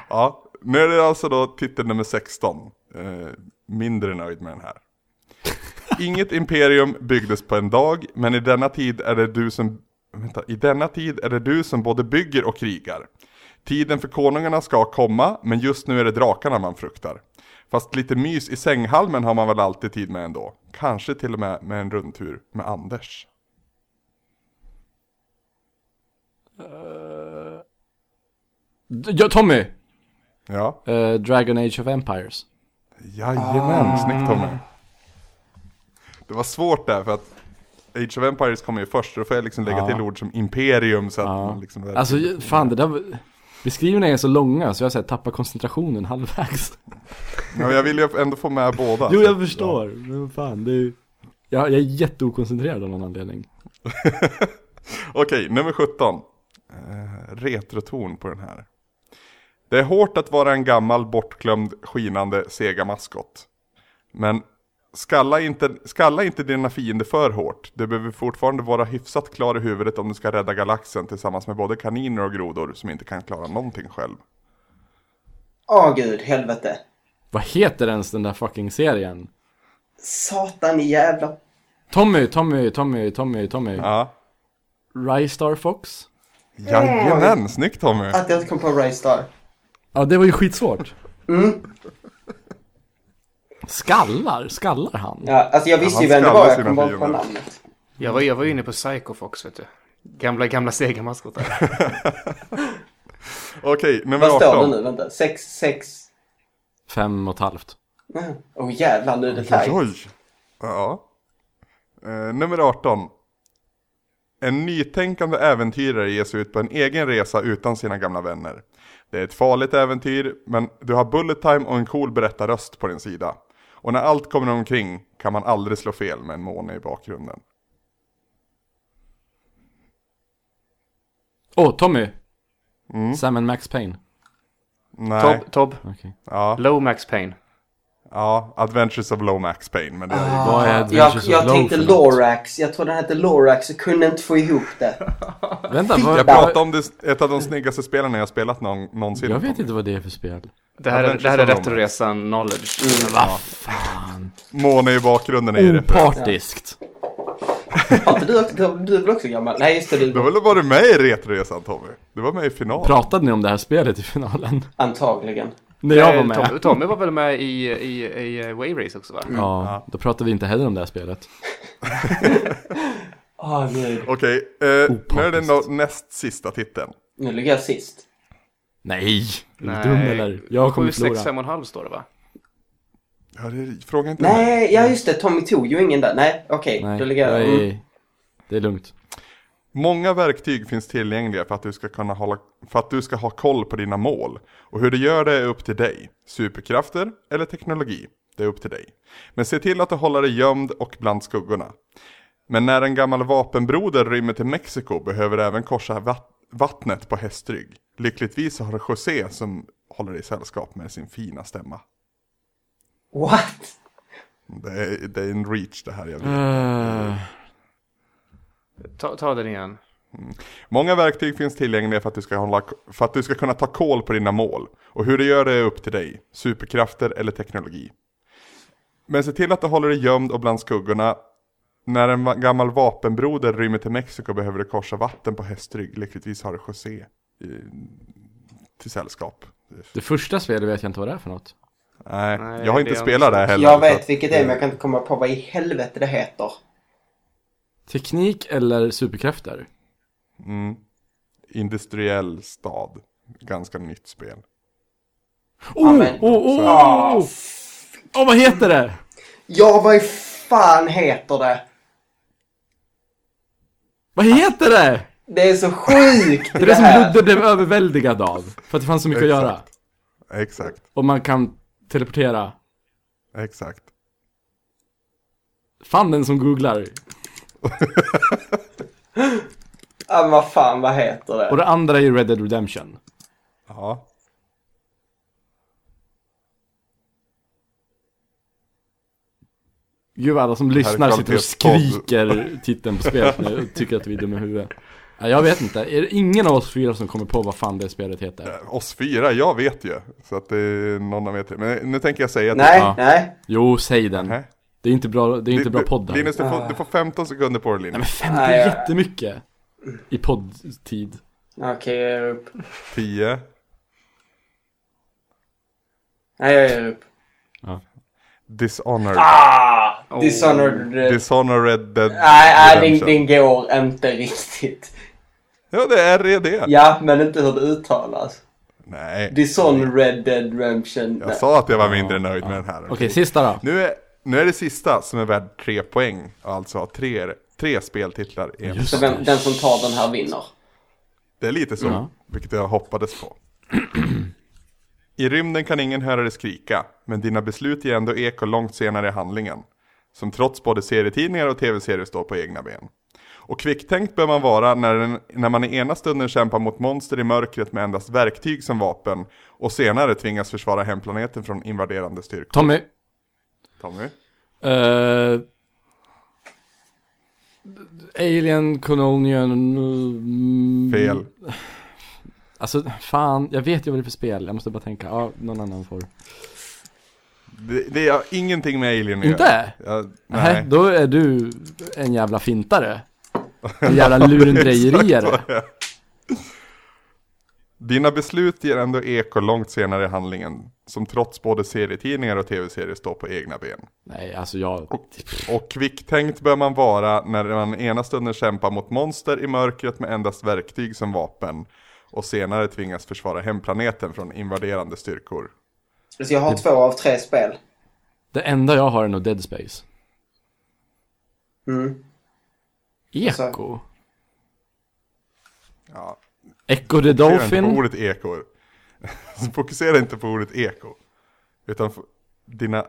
Speaker 1: Ja, nu är det alltså då titel nummer 16. Eh, mindre nöjd med den här. Inget imperium byggdes på en dag, men i denna tid är det du som... Vänta, i denna tid är det du som både bygger och krigar. Tiden för konungarna ska komma, men just nu är det drakarna man fruktar. Fast lite mys i sänghalmen har man väl alltid tid med ändå. Kanske till och med med en rundtur med Anders. Eh.
Speaker 2: D- Ja, Tommy!
Speaker 1: Ja,
Speaker 2: Eh, Dragon Age of Empires. Ah.
Speaker 1: jajamän, snyggt Tommy. Det var svårt där för att Age of Empires kommer ju först, så då får jag liksom lägga till ord som imperium så att man liksom...
Speaker 2: Ah. Alltså, ju- fan det där var- Beskrivningarna är så långa så jag säger tappar koncentrationen halvvägs.
Speaker 1: Ja, jag vill ju ändå få med båda.
Speaker 2: Jo,
Speaker 1: så
Speaker 2: jag
Speaker 1: att-
Speaker 2: förstår. Men fan, det är ju... Jag, jag är jätteokoncentrerad av någon anledning.
Speaker 1: Okej, nummer 17. Eh, retroton på den här. Det är hårt att vara en gammal, bortglömd, skinande Sega-maskot. Men skalla inte, skalla inte dina fiender för hårt. Du behöver fortfarande vara hyfsat klar i huvudet om du ska rädda galaxen tillsammans med både kaniner och grodor som inte kan klara någonting själv.
Speaker 3: Åh gud, helvete.
Speaker 2: Vad heter ens den där fucking serien?
Speaker 3: Satan i jävla...
Speaker 2: Tommy, Tommy, Tommy, Tommy, Tommy.
Speaker 1: Ja.
Speaker 2: Rystar Fox?
Speaker 1: Jajamän, snyggt Tommy!
Speaker 3: Att jag kom på Ray Star.
Speaker 2: Ja, det var ju skitsvårt.
Speaker 3: Mm.
Speaker 2: Skallar? Skallar han?
Speaker 3: Ja, alltså jag visste ju
Speaker 1: Ja,
Speaker 3: vem
Speaker 1: han
Speaker 3: det var, jag
Speaker 1: skallar
Speaker 3: kom bara
Speaker 1: sina
Speaker 3: på
Speaker 1: fiender.
Speaker 3: namnet.
Speaker 4: Jag var, jag var ju
Speaker 2: Mm.
Speaker 4: inne på Psycho Fox, vet du. Gamla, gamla segermaskotar.
Speaker 1: Okej, nummer
Speaker 3: Vad står det
Speaker 1: 18.
Speaker 3: nu? Vänta. Sex, sex...
Speaker 2: Fem och ett halvt.
Speaker 3: Mm. Åh jävlar, nu är det
Speaker 1: Oj,
Speaker 3: tajt.
Speaker 1: Oj! Ja. Eh, nummer 18. En nytänkande äventyrare ger sig ut på en egen resa utan sina gamla vänner. Det är ett farligt äventyr, men du har bullet time och en cool berättarröst på din sida. Och när allt kommer omkring kan man aldrig slå fel med en måne i bakgrunden.
Speaker 2: Åh, Tommy! Sam and Max Payne.
Speaker 1: Nej,
Speaker 4: Tob, Tob.
Speaker 2: Okej.
Speaker 1: ja,
Speaker 4: Low Max Payne.
Speaker 1: ja, Adventures of Lomax Payne, men det är
Speaker 2: Vad är
Speaker 3: Jag,
Speaker 2: Adventures of
Speaker 3: jag
Speaker 2: Low
Speaker 3: tänkte
Speaker 2: för något?
Speaker 3: Lorax. Jag tror den hette Lorax och kunde inte få ihop det.
Speaker 2: Vänta, vad...
Speaker 1: Jag pratade om det, ett av de snyggaste spelen jag har spelat någon, någonsin.
Speaker 2: Jag vet inte vad det är för spel.
Speaker 4: Det här, är-
Speaker 1: Adventures
Speaker 4: det här är
Speaker 1: of Lomax.
Speaker 4: Retroresan knowledge. Mm.
Speaker 2: Vad fan?
Speaker 1: Måne i bakgrunden är
Speaker 2: Oh.
Speaker 1: det.
Speaker 2: Opartiskt.
Speaker 3: Har inte du, du, du är väl också gammal? Nej, just det.
Speaker 1: Då
Speaker 3: Du,
Speaker 1: väl var du med i Retroresan Tommy? Du var med i finalen.
Speaker 2: Pratade ni om det här spelet i finalen?
Speaker 3: antagligen.
Speaker 2: När jag var
Speaker 4: Eh, Tom,
Speaker 2: med?
Speaker 4: Tommy var väl med i, i, i eh, Wave Race också va?
Speaker 2: Ja, då pratade vi inte heller om det här spelet.
Speaker 3: Åh, gud.
Speaker 1: Okej, eh, nu är det
Speaker 2: Opartiskt.
Speaker 1: nå- näst sista titeln.
Speaker 3: Nu ligger jag sist.
Speaker 2: Nej! Är du dum eller? Jag kommer
Speaker 4: 7, 6,
Speaker 2: förlora.
Speaker 4: 5,5 står det va?
Speaker 1: Ja, det, fråga inte mig.
Speaker 3: Nej, ja just det. Tommy tog ju ingen där. Nej, okej. Då
Speaker 2: Nej,
Speaker 3: ligger
Speaker 2: jag
Speaker 3: jag... Mm.
Speaker 2: är... Det är lugnt.
Speaker 1: Många verktyg finns tillgängliga för att, du ska kunna hålla, för att du ska ha koll på dina mål. Och hur du gör det är upp till dig. Superkrafter eller teknologi, det är upp till dig. Men se till att du håller dig gömd och bland skuggorna. Men när en gammal vapenbroder rymmer till Mexiko behöver du även korsa vat- vattnet på hästrygg. Lyckligtvis har du José som håller dig i sällskap med sin fina stämma.
Speaker 3: What?
Speaker 1: Det är, det är en reach det här jag vill.
Speaker 2: Eh,
Speaker 4: Ta, ta den igen.
Speaker 1: Många verktyg finns tillgängliga för att, du ska hålla, för att du ska kunna ta koll på dina mål. Och hur du gör det är upp till dig. Superkrafter eller teknologi. Men se till att du håller dig gömd och bland skuggorna. När en va- gammal vapenbroder rymmer till Mexiko behöver du korsa vatten på hästrygg. Lyckligtvis har du José i, till sällskap.
Speaker 2: det första spelet vet jag inte vad det är för något.
Speaker 1: Nej,
Speaker 4: Nej,
Speaker 1: jag har
Speaker 4: det
Speaker 1: inte
Speaker 4: är
Speaker 1: spelat det här heller.
Speaker 3: Jag
Speaker 1: så
Speaker 3: vet
Speaker 1: att-
Speaker 3: vilket det är men jag kan inte komma på vad i helvete det heter.
Speaker 2: Teknik eller superkrafter?
Speaker 1: Mm, industriell stad. Ganska nytt spel.
Speaker 2: Oh, oh,
Speaker 3: men-
Speaker 2: oh, oh, oh, oh. Åh, vad heter det?
Speaker 3: Ja, vad i fan heter det?
Speaker 2: Vad heter det?
Speaker 3: Det är så sjukt
Speaker 2: Det är
Speaker 3: det,
Speaker 2: det som
Speaker 3: här.
Speaker 2: Ludde blev överväldigad av. För att det fanns så mycket att göra.
Speaker 1: Exakt. Exakt,
Speaker 2: Och man kan teleportera.
Speaker 1: exakt.
Speaker 2: Fan den som googlar.
Speaker 3: Ja, men vad fan, vad heter
Speaker 2: Och
Speaker 3: det?
Speaker 2: det andra är ju Red Dead Redemption.
Speaker 1: Ja.
Speaker 2: Gud vad alla som lyssnar sitter och
Speaker 1: kvalitetspodd.
Speaker 2: skriker titeln på spelet nu och tycker att vi är dumma i huvudet. Nej, Jag vet inte, är det ingen av oss fyra som kommer på vad fan det spelet heter?
Speaker 1: Oss fyra, jag vet ju. Så att det är någon av er till. Men nu tänker jag säga att...
Speaker 3: Nej,
Speaker 2: Ja.
Speaker 3: nej.
Speaker 2: Jo, säg den.
Speaker 1: Nej.
Speaker 2: Det är inte bra, det är inte bra podd här.
Speaker 1: Linus, du
Speaker 3: Ah.
Speaker 1: får, du får 15 sekunder på dig
Speaker 2: Nej men
Speaker 1: Linus.
Speaker 2: fem, det
Speaker 3: Nej,
Speaker 2: är
Speaker 3: jag-
Speaker 2: jättemycket. I poddtid.
Speaker 3: Okej, jag ger upp.
Speaker 1: 10,
Speaker 3: Nej, jag ger upp.
Speaker 1: Dishonored.
Speaker 3: Ah! Dishonored. eh,
Speaker 1: Dishonored Red Dead
Speaker 3: Nej, ah, nej, den,
Speaker 1: Redemption.
Speaker 3: den går inte riktigt.
Speaker 1: Ja, det är RED.
Speaker 3: Ja, men inte hur det uttalas.
Speaker 1: Nej,
Speaker 3: Dishonored Red Dead Redemption.
Speaker 1: jag
Speaker 3: Nej.
Speaker 1: sa att jag var mindre nöjd med den här.
Speaker 2: Ah. Okej, sista då.
Speaker 1: Nu, är, nu är det sista som är värd tre poäng. Alltså tre, tre speltitlar. i en.
Speaker 2: Just
Speaker 3: Så vem, den som tar den här vinner.
Speaker 1: Det är lite så,
Speaker 2: Ja.
Speaker 1: vilket jag hoppades på. I rymden kan ingen höra dig skrika, men dina beslut ger ändå eko långt senare i handlingen. Som trots både serietidningar och tv-serier står på egna ben. Och kvicktänkt bör man vara när, den, när man i ena stunden kämpar mot monster i mörkret med endast verktyg som vapen och senare tvingas försvara hemplaneten från invaderande styrkor.
Speaker 2: Tommy.
Speaker 1: Tommy?
Speaker 2: Eh, Alien, Colonial... mm,
Speaker 1: Fel.
Speaker 2: Alltså, fan, jag vet ju vad det är för spel. Jag måste bara tänka, ja, någon annan får.
Speaker 1: Det, det har ingenting med Alien att
Speaker 2: Inte?
Speaker 1: göra. Jag,
Speaker 2: Nej.
Speaker 1: nej.
Speaker 2: då är du en jävla fintare. En jävla lurendrejeriare.
Speaker 1: Dina beslut ger ändå eko långt senare i handlingen, som trots både serietidningar och tv-serier står på egna ben.
Speaker 2: Nej, alltså jag...
Speaker 1: Och kvicktänkt bör man vara när man ena stunden kämpar mot monster i mörkret med endast verktyg som vapen, och senare tvingas försvara hemplaneten från invaderande styrkor.
Speaker 3: Så jag har två av tre spel.
Speaker 2: Det enda jag har är nog Dead Space.
Speaker 3: Mm.
Speaker 2: Eko?
Speaker 1: Ja,
Speaker 2: Echo the
Speaker 1: det är inte på
Speaker 2: Dolphin?
Speaker 1: ordet ekor. Så fokusera inte på ordet eko. Utan f- dina,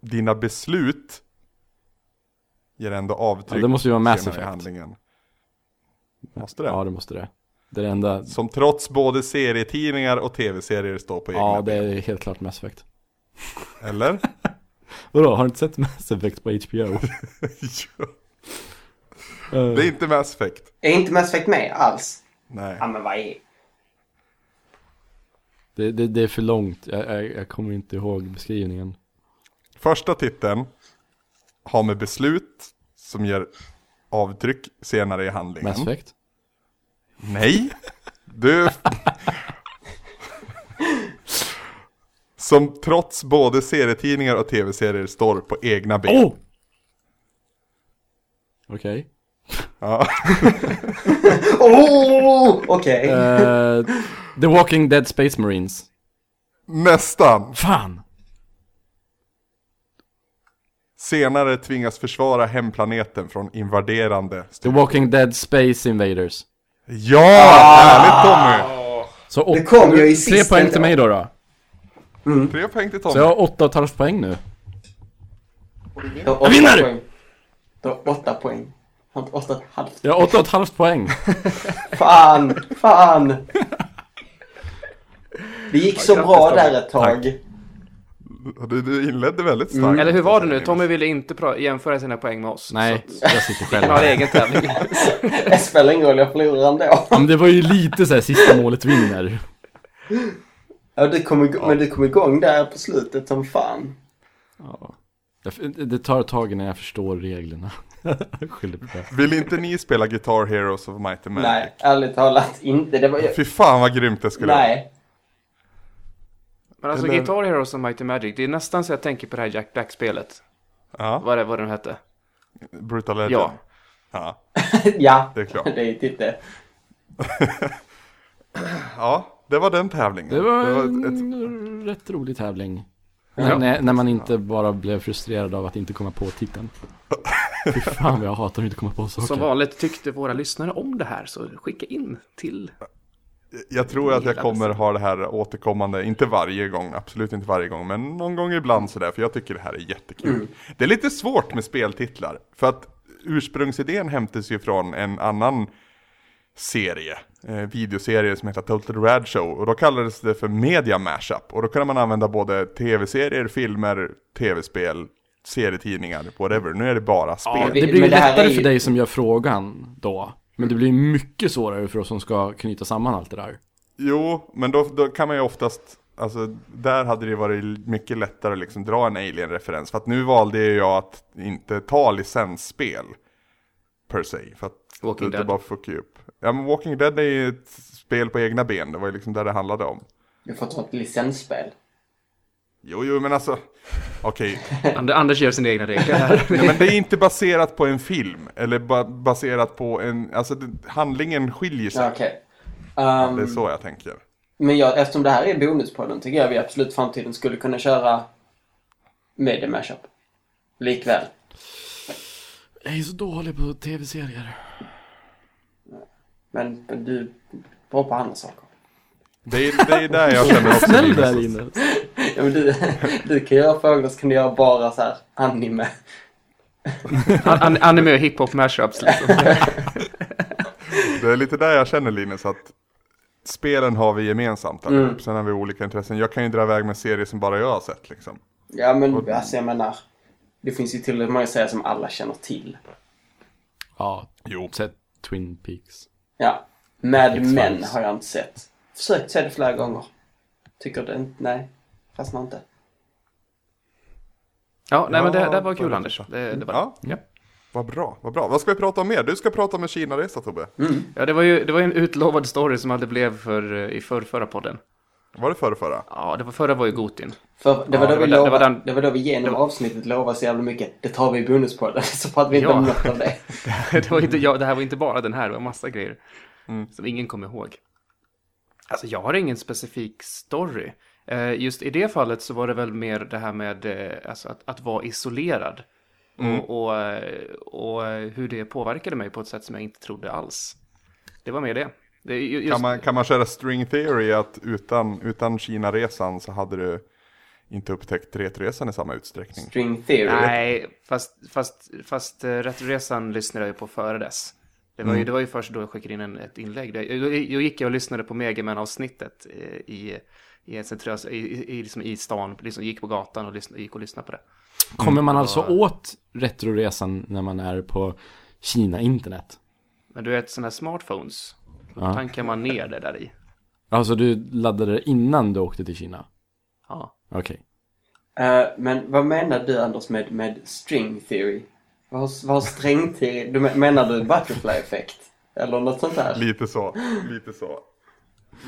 Speaker 1: dina beslut ger ändå avtryck
Speaker 2: Ja, det måste ju vara Mass
Speaker 1: senare i
Speaker 2: Effect.
Speaker 1: handlingen. Måste det?
Speaker 2: Ja, det måste det. Det är det enda.
Speaker 1: Som trots både serietidningar och tv-serier står på egna
Speaker 2: Ja, det
Speaker 1: ben.
Speaker 2: är helt klart Mass Effect.
Speaker 1: Eller?
Speaker 2: Vadå, har du inte sett Mass Effect på HBO?
Speaker 1: Jo.
Speaker 2: Eh,
Speaker 1: det är inte Mass Effect.
Speaker 3: Är inte Mass Effect med alls?
Speaker 1: Nej.
Speaker 3: Ja men vad är...
Speaker 2: det, det, det är för långt, jag, jag, jag kommer inte ihåg beskrivningen.
Speaker 1: Första titeln har med beslut som ger avtryck senare i handlingen.
Speaker 2: Mass Effect?
Speaker 1: Nej! Du... Som trots både serietidningar och tv-serier står på egna ben.
Speaker 2: Oh! Okej.
Speaker 1: Ja.
Speaker 3: Oh, Okej.
Speaker 2: Eh, The Walking Dead Space Marines.
Speaker 1: Nästan!
Speaker 2: Fan!
Speaker 1: Senare tvingas försvara hemplaneten från invaderande
Speaker 2: The
Speaker 1: styr-
Speaker 2: Walking Dead Space Invaders.
Speaker 1: Ja!
Speaker 4: Ah!
Speaker 1: Härligt Tommy!
Speaker 2: Så åt,
Speaker 3: kom ju i
Speaker 2: Tre
Speaker 3: sist
Speaker 2: poäng
Speaker 3: ändå.
Speaker 2: till mig då då.
Speaker 1: Tre poäng till Tommy.
Speaker 2: Så jag har åtta och ett halvt poäng nu.
Speaker 3: Du har åtta
Speaker 2: vinner!
Speaker 3: poäng. Du har åtta poäng. Han har åtta och ett halvt.
Speaker 2: Jag har åtta och ett halvt poäng.
Speaker 3: Fan, fan. Det gick så bra
Speaker 4: grattis,
Speaker 3: där ett tag.
Speaker 1: Du, du inledde väldigt starkt.
Speaker 2: Mm.
Speaker 4: Mm. Eller hur var det nu? Tommy ville inte pra- jämföra sina poäng med oss.
Speaker 2: Nej, jag sitter
Speaker 4: Han har
Speaker 2: själv.
Speaker 4: egen tävling.
Speaker 3: Det spelar ingen roll, jag förlorar ändå.
Speaker 2: Ja, men det var ju lite så här sista målet vinner.
Speaker 3: Ja, du kom igång, Men du kom igång där på slutet som fan.
Speaker 2: Ja. Jag- Det tar ett tag innan jag förstår reglerna. Jag skyller på det.
Speaker 1: Vill inte ni spela Guitar Heroes of Might and Magic?
Speaker 3: Nej, ärligt talat inte. Det var ju...
Speaker 1: Fy fan vad grymt det skulle vara.
Speaker 3: Nej.
Speaker 4: Men alltså
Speaker 1: Eller-
Speaker 4: Guitar Heroes och Mighty Magic, det är nästan så jag tänker på det här Jack Black-spelet.
Speaker 1: Ja,
Speaker 4: Vad det, vad det nu hette.
Speaker 1: Brutal Legend.
Speaker 4: Ja.
Speaker 1: ja.
Speaker 3: Ja,
Speaker 1: Det är klart.
Speaker 3: det är inte.
Speaker 1: Ja, det var den tävlingen.
Speaker 2: Det var
Speaker 1: ett...
Speaker 2: en rätt rolig tävling. När- När, när man inte bara blev frustrerad av att inte komma på titeln. Fy fan vad jag hatar att inte komma på saker.
Speaker 4: Som vanligt tyckte våra lyssnare om det här, så skicka in till.
Speaker 1: Jag tror att jag
Speaker 4: Hela
Speaker 1: kommer ha det här återkommande, inte varje gång, absolut inte varje gång, men någon gång ibland sådär, för jag tycker det här är jättekul. Det är lite svårt med speltitlar, för att ursprungsidén hämtas ju från en annan serie, eh, videoserie som heter Total Rad Show, och då kallades det för Media Mashup, och då kunde man använda både tv-serier, filmer, tv-spel, serietidningar, whatever. Nu är det bara spel.
Speaker 3: Ja,
Speaker 2: Det
Speaker 3: vi-
Speaker 2: blir ju
Speaker 3: Men det här är
Speaker 2: lättare
Speaker 3: ju-
Speaker 2: för dig som gör frågan då. Men det blir mycket svårare för oss som ska knyta samman allt det där.
Speaker 1: Jo, men då, då kan man ju oftast, alltså där hade det varit l- mycket lättare att liksom dra en alien-referens. För att nu valde ju jag att inte ta licensspel, per se. För att
Speaker 4: Walking
Speaker 1: det, det
Speaker 4: Dead.
Speaker 1: bara fuckar ju upp. Ja men Walking Dead är ju ett spel på egna ben, det var ju liksom där det handlade om.
Speaker 3: Du får ta ett licensspel.
Speaker 1: Jo, jo, men alltså, okej.
Speaker 4: And- Anders gör sina egna regler här.
Speaker 1: Nej, men det är inte baserat på en film, eller ba- baserat på en, alltså det, handlingen skiljer sig.
Speaker 3: Ja, Okej. Ehm,
Speaker 1: Det är så jag tänker.
Speaker 3: men jag, eftersom det här är bonuspodden tycker jag vi absolut i framtiden skulle kunna köra media mashup. Likväl.
Speaker 2: Jag är så dålig på tv-serier.
Speaker 3: Men men du var på andra saker.
Speaker 1: Det är, det är där jag känner också.
Speaker 2: Snäll
Speaker 1: Linus,
Speaker 2: där
Speaker 1: att-
Speaker 2: inne.
Speaker 3: Ja, men du, du kan göra frågor så kan du göra bara så här anime.
Speaker 4: An- an- anime och hiphop mashups liksom.
Speaker 1: Det är lite där jag känner Linus att spelen har vi gemensamt allihop.
Speaker 4: Mm.
Speaker 1: Sen har vi olika intressen. Jag kan ju dra iväg med serier som bara jag har sett liksom.
Speaker 3: Ja men alltså jag menar. Det finns ju tillräckligt många serier som alla känner till.
Speaker 2: Ja,
Speaker 1: Jo.
Speaker 2: sett Twin Peaks.
Speaker 3: Ja. Mad
Speaker 2: Exakt.
Speaker 3: Men har jag inte sett. Försökt se det flera gånger. Tycker det inte, nej. Fastnar inte.
Speaker 4: Ja, nej men det,
Speaker 1: Ja,
Speaker 4: det var kul
Speaker 1: vad
Speaker 4: Anders. Det, det var det.
Speaker 1: Ja, vad bra, vad bra. Vad ska vi prata om mer? Du ska prata om Kina-resa Tobbe.
Speaker 4: Ja, det var ju det var ju en utlovad story som aldrig blev för, eh, i förr, förra podden.
Speaker 1: Var det förra förra?
Speaker 4: Ja, det var, förra var ju Gotin.
Speaker 3: För det var,
Speaker 4: det
Speaker 3: då,
Speaker 4: var
Speaker 3: vi
Speaker 4: den-
Speaker 3: lovade,
Speaker 4: det
Speaker 3: det,
Speaker 4: var
Speaker 3: var då
Speaker 4: den-
Speaker 3: vi genom avsnittet lovade så jävla mycket. Det tar vi i bonuspodden. Så pratade vi inte
Speaker 4: Ja.
Speaker 3: om något av det.
Speaker 4: det, var inte,
Speaker 1: Mm.
Speaker 4: ja, det här var inte bara den här, det var massa grejer som ingen kom ihåg. Alltså jag har ingen specifik story. Eh, just i det fallet så var det väl mer det här med eh, alltså att, att vara isolerad.
Speaker 1: Mm.
Speaker 4: Och, och, eh, och eh, hur det påverkade mig på ett sätt som jag inte trodde alls. Det var mer det. Det är ju- just,
Speaker 1: Kan man, kan man köra string theory att utan, utan Kina-resan så hade du inte upptäckt retresan i samma utsträckning?
Speaker 3: String theory.
Speaker 4: Nej, fast, fast, fast eh, Rättresan lyssnade jag ju på före dess. Det var, ju, det var ju först då jag skickade in en, ett inlägg. Där, då, då gick jag och lyssnade på Megaman-avsnittet eh, i, i, ett centralt- i, i, i, liksom i stan. Liksom, gick på gatan och lyssnade, gick och lyssnade på det.
Speaker 2: Kommer man alltså åt Retroresan när man är på Kina-internet?
Speaker 4: Men du vet, sådana här smartphones, då tankar man ner det där i.
Speaker 2: Alltså du laddade det innan du åkte till Kina?
Speaker 4: Ja.
Speaker 2: Okej.
Speaker 3: Eh, men vad menar du Anders med, med string theory? Vad har, vad har sträng teori? Du, men- menar du butterfly effekt? Eller något sånt där?
Speaker 1: Lite så, lite så.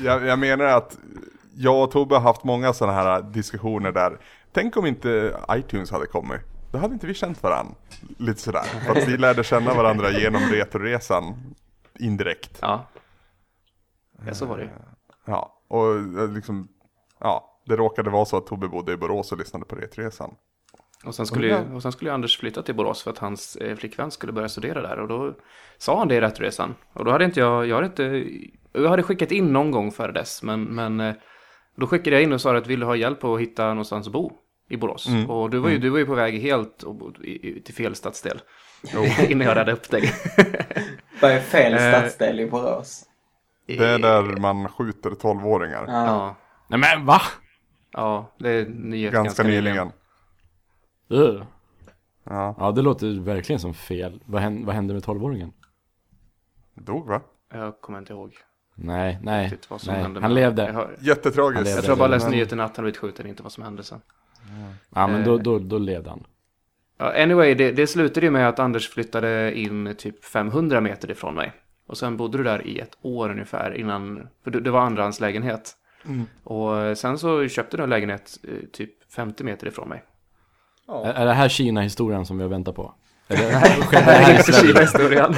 Speaker 1: Jag, jag menar att jag och Tobbe har haft många sådana här diskussioner där. Tänk om inte iTunes hade kommit. Då hade inte vi känt varandra. Lite sådär. För att vi lärde känna varandra genom Retroresan. Indirekt.
Speaker 4: Ja. Ja, så var det ju.
Speaker 1: Ja, och eh, liksom, ja. Det råkade vara så att Tobbe bodde i Borås och lyssnade på Retroresan.
Speaker 4: Och sen skulle, ju, och sen skulle ju Anders flytta till Borås för att hans eh, flickvän skulle börja studera där. Och då sa han det i Rättresan. Och då hade inte jag, jag hade inte, jag hade skickat in någon gång före dess. Men, men eh, då skickade jag in och sa att vill du ha hjälp att hitta någonstans att bo i Borås?
Speaker 1: Mm.
Speaker 4: Och du var, ju, du var ju på väg helt och, bo- i, i, till fel stadsdel. Innan jag räddade upp dig.
Speaker 3: Vad är fel
Speaker 4: Eh.
Speaker 3: stadsdel i Borås?
Speaker 1: Det är där man skjuter 12-åringar.
Speaker 4: Ja,
Speaker 2: Nej men va?
Speaker 4: ja, det är nyhet
Speaker 1: Ganska, nyligen.
Speaker 2: Ugh.
Speaker 1: Ja.
Speaker 2: Ja, det låter ju verkligen som fel. Vad hände, vad hände med 12-åringen?
Speaker 1: Dog va?
Speaker 4: Jag kommer inte ihåg
Speaker 2: Nej, nej,
Speaker 4: riktigt vad som
Speaker 2: nej.
Speaker 4: hände.
Speaker 2: han
Speaker 4: men
Speaker 2: levde.
Speaker 4: Jag, har,
Speaker 1: Jättetragiskt.
Speaker 2: Han
Speaker 4: jag
Speaker 2: levde.
Speaker 4: tror jag bara
Speaker 2: Men-
Speaker 4: läste nyheten att han blivit skjuten, inte vad som hände sen.
Speaker 2: Ja, men
Speaker 4: Eh.
Speaker 2: då, då, då levde han.
Speaker 4: Ja, anyway, det, det slutade ju med att Anders flyttade in typ 500 meter ifrån mig. Och sen bodde du där i ett år ungefär innan, för det, det var andrahandslägenhet. Och eh, sen så köpte du en lägenhet eh, typ 50 meter ifrån mig.
Speaker 2: Är, är det här Kina-historien som vi har väntat på? Är det, sker det här i
Speaker 4: Inte
Speaker 2: Sverige?
Speaker 4: Kina-historien.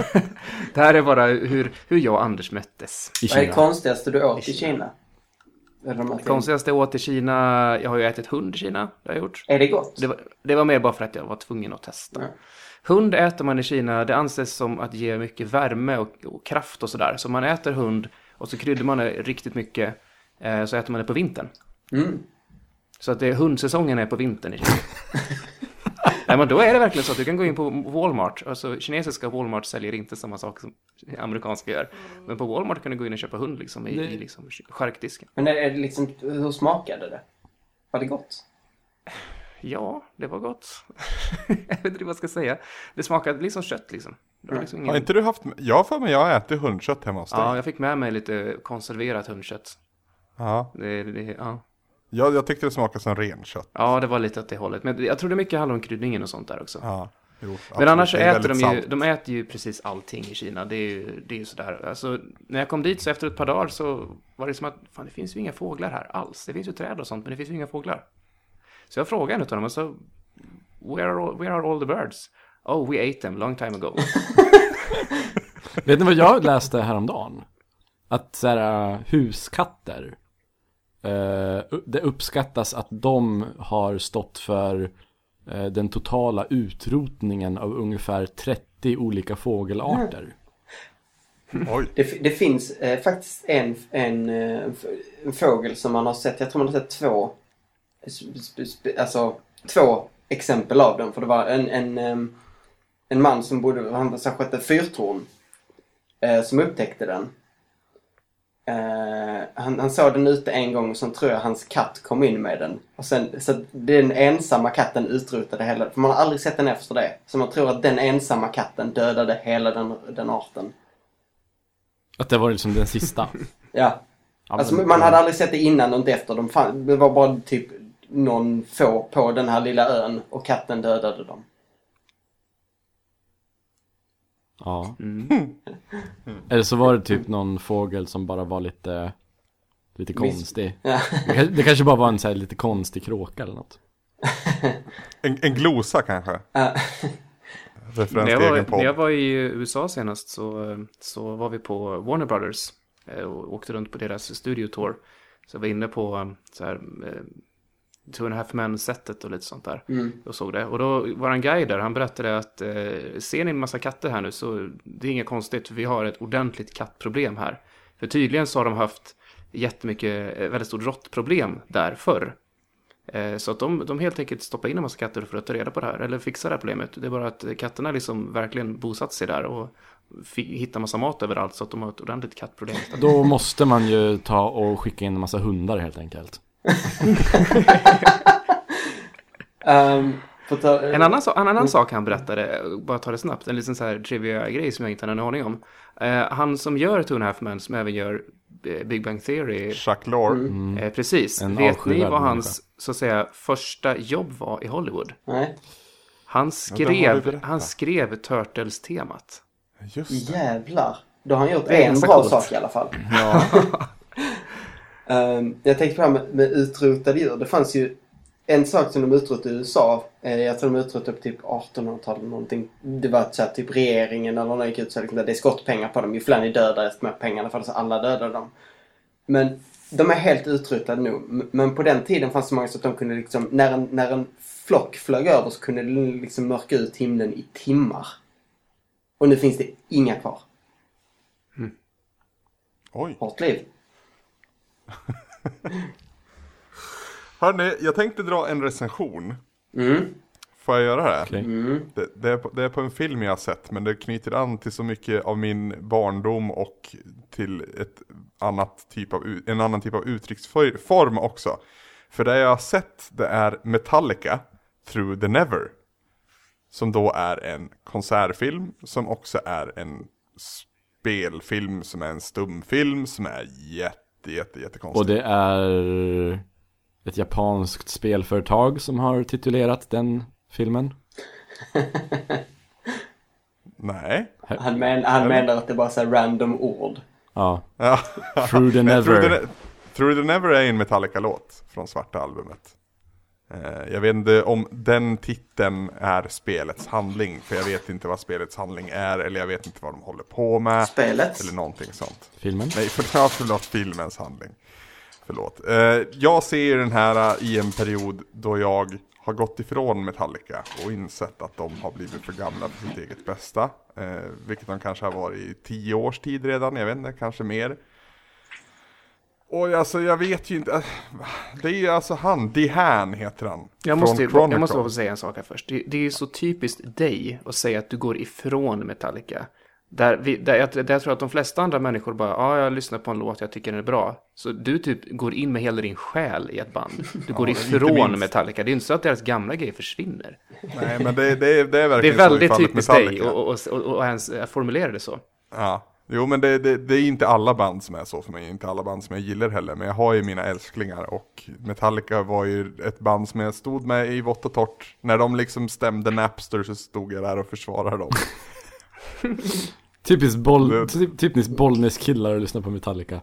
Speaker 4: det här är bara hur, hur jag och Anders möttes.
Speaker 2: I
Speaker 3: Vad är det
Speaker 2: Kina?
Speaker 3: konstigaste du åt i Kina? Eller de här
Speaker 4: Det konstigaste jag åt i Kina, jag har ju ätit hund i Kina, det har jag gjort.
Speaker 3: ting- Är det gott?
Speaker 4: Det var, det var mer bara för att jag var tvungen att testa.
Speaker 3: Ja.
Speaker 4: Hund äter man i Kina, det anses som att ge mycket värme och, och kraft och sådär. Så man äter hund och så kryddar man det riktigt mycket, eh, så äter man det på vintern.
Speaker 3: Mm.
Speaker 4: Så att det, hundsäsongen är på vintern i Kina. Nej men då är det verkligen så att du kan gå in på Walmart, alltså kinesiska Walmart säljer inte samma sak som amerikanska gör. Men på Walmart kan du gå in och köpa hund liksom i, i liksom charkdisken.
Speaker 3: Men är, är det liksom, hur smakade det? Var det gott?
Speaker 4: Ja, det var gott. jag vet inte vad jag ska säga. Det smakade liksom kött liksom. Det var liksom
Speaker 1: Har
Speaker 4: ingen...
Speaker 1: inte du haft, jag har för mig jag har ätit hundkött hemma hos dig.
Speaker 4: Ja, jag fick med mig lite konserverat hundkött.
Speaker 1: Ja.
Speaker 4: Det, det, ja.
Speaker 1: Jag, jag tyckte det smakade som renkött.
Speaker 4: ja, det var lite åt det hållet. Men jag tror det mycket handlar om kryddningen och sånt där också.
Speaker 1: Ja, jo, absolut.
Speaker 4: Men annars så
Speaker 1: Det är
Speaker 4: äter de
Speaker 1: väldigt
Speaker 4: ju,
Speaker 1: salt.
Speaker 4: de äter ju precis allting i Kina. Det är ju, det är ju sådär. Alltså, när jag kom dit så efter ett par dagar så var det som att fan, det finns ju inga fåglar här alls. Det finns ju träd och sånt, men det finns ju inga fåglar. Så jag frågade en utav dem och så, where are, all, where are all the birds? Oh, we ate them long time ago.
Speaker 2: Vet ni vad jag läste häromdagen? Att så här, äh, huskatter, eh, u- det uppskattas att de har stått för eh, den totala utrotningen av ungefär 30 olika fågelarter.
Speaker 1: Oj,
Speaker 3: Det, fi- det finns eh, faktiskt en, en, eh, en f- en fågel som man har sett, jag tror man har sett två, sp- sp- sp- alltså två exempel av den. För det var en, en, ehm, en man som bodde, han så här skötte fyrtorn, eh, som upptäckte den. Eh, han, han såg den ute en gång och sen tror jag hans katt kom in med den. Och sen, så att den ensamma katten utrotade hela, för man har aldrig sett den efter det. Så man tror att den ensamma katten dödade hela den, den arten.
Speaker 2: Att det var liksom den sista.
Speaker 3: Ja,
Speaker 2: Ja,
Speaker 3: Alltså
Speaker 2: men-
Speaker 3: man hade aldrig sett det innan och inte efter. De fann, det var bara typ någon få på den här lilla ön och katten dödade dem.
Speaker 2: Ja. Eller så var det typ någon fågel som bara var lite, lite konstig.
Speaker 3: Ja.
Speaker 2: Det kanske- Det kanske bara var en så här lite konstig kråka eller något.
Speaker 1: en, en glosa kanske?
Speaker 3: Ja.
Speaker 1: Referens
Speaker 4: När jag,
Speaker 1: till egen
Speaker 4: var,
Speaker 1: podd.
Speaker 4: när jag var i USA senast så, så var vi på Warner Brothers eh, och åkte runt på deras studio tour. Så jag var inne på eh, så här, eh, Two and a half men-setet och lite sånt där. Och såg det. Och då var en guide där, han berättade att eh, ser ni en massa katter här nu så det är inget konstigt, för vi har ett ordentligt kattproblem här. För tydligen så har de haft jättemycket, eh, väldigt stort råttproblem där förr. Eh, Så att de, de helt enkelt stoppar in en massa katter för att ta reda på det här, eller fixa det här problemet. Det är bara att katterna liksom verkligen bosatt sig där och fi- hittar massa mat överallt så att de har ett ordentligt kattproblem.
Speaker 2: Då måste man ju ta och skicka in en massa hundar helt enkelt.
Speaker 3: Ehm, på tal-
Speaker 4: En annan, so- en annan sak han berättade, bara ta det snabbt, en liten så här trivia-grej som jag inte hade en aning om. Eh, han som gör Two and a Half Men, som även gör eh, Big Bang Theory,
Speaker 1: Jacques Lore.
Speaker 4: eh, precis.
Speaker 2: Mm. En
Speaker 4: Vet ni
Speaker 2: avskyvärd
Speaker 4: vad hans,
Speaker 2: människa.
Speaker 4: så att säga, första jobb var i Hollywood?
Speaker 3: Nej.
Speaker 4: Han
Speaker 1: det har du
Speaker 4: skrev,
Speaker 1: berättat.
Speaker 4: han skrev Turtles-temat.
Speaker 1: Just det.
Speaker 3: Jävlar. Då har han gjort
Speaker 4: Det är
Speaker 3: en
Speaker 4: så
Speaker 3: bra
Speaker 4: coolt.
Speaker 3: sak i alla fall.
Speaker 1: Ja.
Speaker 3: Ehm, jag tänkte på det här med, med utrotade djur. Det fanns ju en sak som de utrotade i USA. Eh, jag tror de utrotade på typ 1800-talet eller någonting. Det var så här, typ regeringen eller någon gick ut så liksom, det är skottpengar på dem. Ju fler ni dödar desto mer pengar. För alltså alla dödade dem. Men de är helt utrotade nu. M- Men på den tiden fanns det många så att de kunde liksom, när en, när en flock flög över så kunde den liksom mörka ut himlen i timmar. Och nu finns det inga kvar.
Speaker 1: Oj.
Speaker 3: Hårt liv.
Speaker 1: Hörni, jag tänkte dra en recension.
Speaker 3: Mm.
Speaker 1: Får jag göra det?
Speaker 2: Okej.
Speaker 1: Det, det, är på, det är på en film jag har sett, men det knyter an till så mycket av min barndom och till ett annat typ av, u- en annan typ av uttrycksform också. För det jag har sett, det är Metallica, Through the Never. Som då är en konsertfilm, som också är en spelfilm, som är en stumfilm, som är jätte, jätte, jättekonstig.
Speaker 2: Och det är ett japanskt spelföretag som har titulerat den filmen.
Speaker 1: Nej.
Speaker 3: Han, men, han menar att det bara är så här random ord.
Speaker 2: Ja,
Speaker 1: Ja.
Speaker 2: Through the
Speaker 1: Men Through the,
Speaker 2: Never.
Speaker 1: Ne- Through the Never är en Metallica-låt från svarta albumet. Eh, Jag vet inte om den titeln är spelets handling, för jag vet inte vad spelets handling är, eller jag vet inte vad de håller på med.
Speaker 3: Spelet.
Speaker 1: Eller någonting sånt.
Speaker 2: Filmen.
Speaker 1: Nej, för, ja, förlåt, filmens handling. Förlåt. Eh, jag ser ju den här eh, i en period då jag har gått ifrån Metallica och insett att de har blivit för gamla för sitt eget bästa. Eh, vilket de kanske har varit i tio års tid redan, jag vet inte, kanske mer. Och alltså jag vet ju inte, eh, det är ju alltså han, Dehan heter han.
Speaker 4: Jag måste,
Speaker 1: från
Speaker 4: jag måste
Speaker 1: Chronicle.
Speaker 4: bara få säga en sak här först. Det, det är ju så typiskt dig att säga att du går ifrån Metallica. Där, vi, där, jag, där jag tror att de flesta andra människor bara, ja, ah, jag lyssnar på en låt, jag tycker den är bra. Så du typ går in med hela din själ i ett band. Du går
Speaker 1: inte
Speaker 4: ifrån
Speaker 1: minst.
Speaker 4: Metallica. Det är ju inte så att deras gamla grejer försvinner.
Speaker 1: Nej men det, det, det är verkligen
Speaker 4: Det är
Speaker 1: så i
Speaker 4: väldigt
Speaker 1: fallet
Speaker 4: typiskt dig
Speaker 1: Metallica.
Speaker 4: och, och, och, och ens eh, formulera det så.
Speaker 1: Ja, jo men det, det, det är inte alla band som är så för mig, inte alla band som jag gillar heller, men jag har ju mina älsklingar och Metallica var ju ett band som jag stod med i vått och torrt. När de liksom stämde Napster så stod jag där och försvarade dem.
Speaker 2: Typiskt, boll,
Speaker 1: Det-
Speaker 2: typ, typiskt Bollnäs-killar att lyssna på Metallica.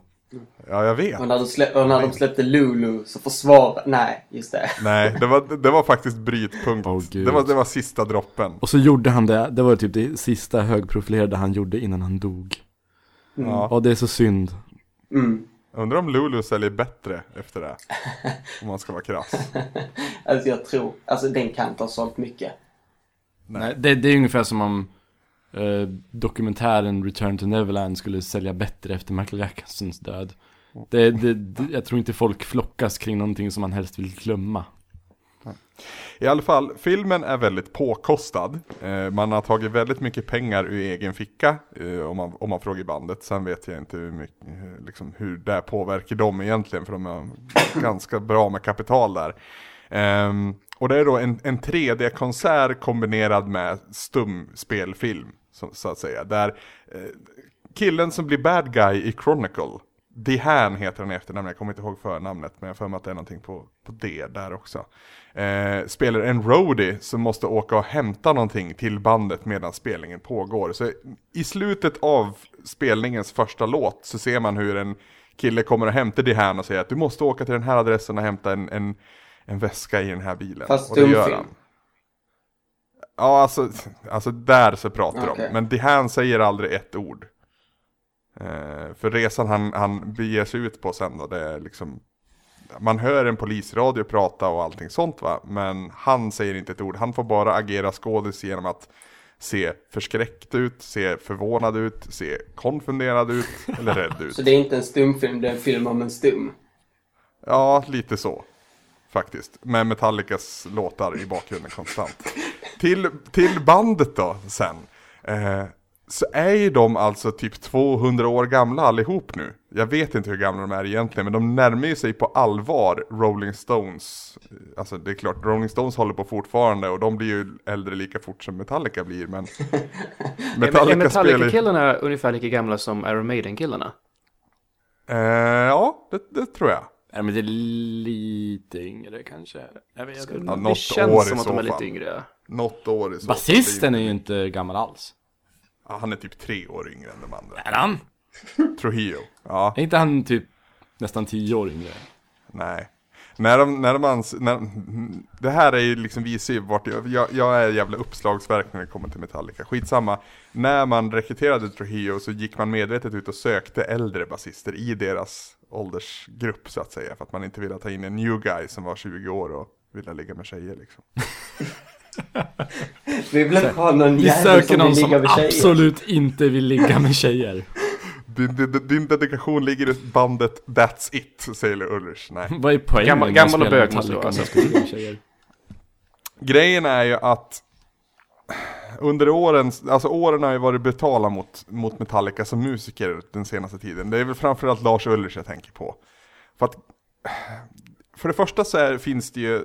Speaker 1: Ja, jag vet.
Speaker 3: Och när, du slä- och när de släppte Lulu så försvarade... Nej, just det.
Speaker 1: Nej, det var, det var faktiskt brytpunkt.
Speaker 2: Åh, gud.
Speaker 1: det, var, det var sista droppen.
Speaker 2: Och så gjorde han det, det var typ det sista högprofilerade han gjorde innan han dog.
Speaker 1: Ja,
Speaker 2: Ja, det är så synd.
Speaker 3: Mm.
Speaker 1: undrar om Lulu säljer bättre efter det. Om man ska vara krass.
Speaker 3: Alltså jag tror... Alltså den kan inte ha sålt mycket.
Speaker 2: Nej, det, det är ungefär som om eh, dokumentären Return to Neverland skulle sälja bättre efter Michael Jacksons död. Det, det, det, jag tror inte folk flockas kring någonting som man helst vill glömma.
Speaker 1: I alla fall, filmen är väldigt påkostad. Eh, man har tagit väldigt mycket pengar ur egen ficka, eh, om, man, om man frågar bandet. Sen vet jag inte hur, mycket, hur- liksom, hur det här påverkar dem egentligen, för de har ganska bra med kapital där. Ehm, och det är då en, en 3D-konsert kombinerad med stum spelfilm, så, så att säga. Där eh, killen som blir bad guy i Chronicle, Dehan heter han i efternamn, jag kommer inte ihåg förnamnet, men jag har för mig att det är någonting på, på D där också. Eh, spelar en roadie som måste åka och hämta någonting till bandet medan spelningen pågår. Så i slutet av spelningens första låt så ser man hur en kille kommer och hämtar Dehan och säger att du måste åka till den här adressen och hämta en, en, en väska i den här bilen.
Speaker 3: Fast
Speaker 1: och det gör
Speaker 3: stumfilm.
Speaker 1: han. Ja, alltså, alltså där så pratar
Speaker 3: Okej.
Speaker 1: de. Men Dehan säger aldrig ett ord. Eh, för resan han, han beger sig ut på sen då, det är liksom man hör en polisradio prata och allting sånt va, men han säger inte ett ord. Han får bara agera skådis genom att se förskräckt ut, se förvånad ut, se konfunderad ut eller rädd ut.
Speaker 3: Så det är inte en stumfilm, det är en film om en stum.
Speaker 1: Ja, lite så. Faktiskt. Med Metallicas låtar i bakgrunden konstant. Till, till bandet då, sen. Eh, så är ju de alltså typ 200 år gamla allihop nu. Jag vet inte hur gamla de är egentligen, men de närmar ju sig på allvar Rolling Stones. Alltså det är klart, Rolling Stones håller på fortfarande och de blir ju äldre lika fort som Metallica blir, men...
Speaker 4: Metallica är
Speaker 1: spelar ju-
Speaker 4: Metallica-killarna ungefär lika gamla som Iron Maiden-killarna?
Speaker 1: Eh, ja, det, det tror jag.
Speaker 2: Nej men det är lite yngre kanske. Jag vet inte.
Speaker 1: Ja,
Speaker 4: det
Speaker 1: något
Speaker 4: känns
Speaker 1: år i
Speaker 4: som att de
Speaker 1: så
Speaker 4: är lite
Speaker 1: fall.
Speaker 4: yngre. ja.
Speaker 1: Något år i så fall.
Speaker 2: Basisten är ju inte gammal alls.
Speaker 1: Ja, Han är typ tre år yngre än de andra.
Speaker 2: Är han?
Speaker 1: Trujillo. Ja,
Speaker 2: Är inte han typ nästan tio år yngre?
Speaker 1: nej. När de, när de ans, när, det här är ju liksom, visar ju vart jag, jag, jag är jävla uppslagsverk när det kommer till Metallica. Skitsamma. När man rekryterade Trujillo så gick man medvetet ut och sökte äldre basister i deras åldersgrupp så att säga. För att man inte ville ta in en new guy som var 20 år och ville ligga med tjejer liksom.
Speaker 3: Vi vill inte ha någon
Speaker 2: Vi
Speaker 3: jävel
Speaker 2: söker
Speaker 3: som
Speaker 2: någon
Speaker 3: vill
Speaker 2: som
Speaker 3: ligga med tjejer.
Speaker 2: absolut inte vill ligga med tjejer.
Speaker 1: Din, din, din dedikation ligger i bandet That's It, säger Ulrich. Nej.
Speaker 2: Vad är poängen?
Speaker 4: Gammal-
Speaker 2: med att
Speaker 4: gammal och
Speaker 2: spela
Speaker 4: bög måste
Speaker 2: Metallica
Speaker 4: det vara,
Speaker 2: om
Speaker 4: alltså.
Speaker 2: man ska ligga med tjejer?
Speaker 1: Grejen är ju att under åren, alltså åren har ju varit brutala mot, mot Metallica som musiker den senaste tiden. Det är väl framförallt Lars Ulrich jag tänker på. För att, för det första så är, finns det ju,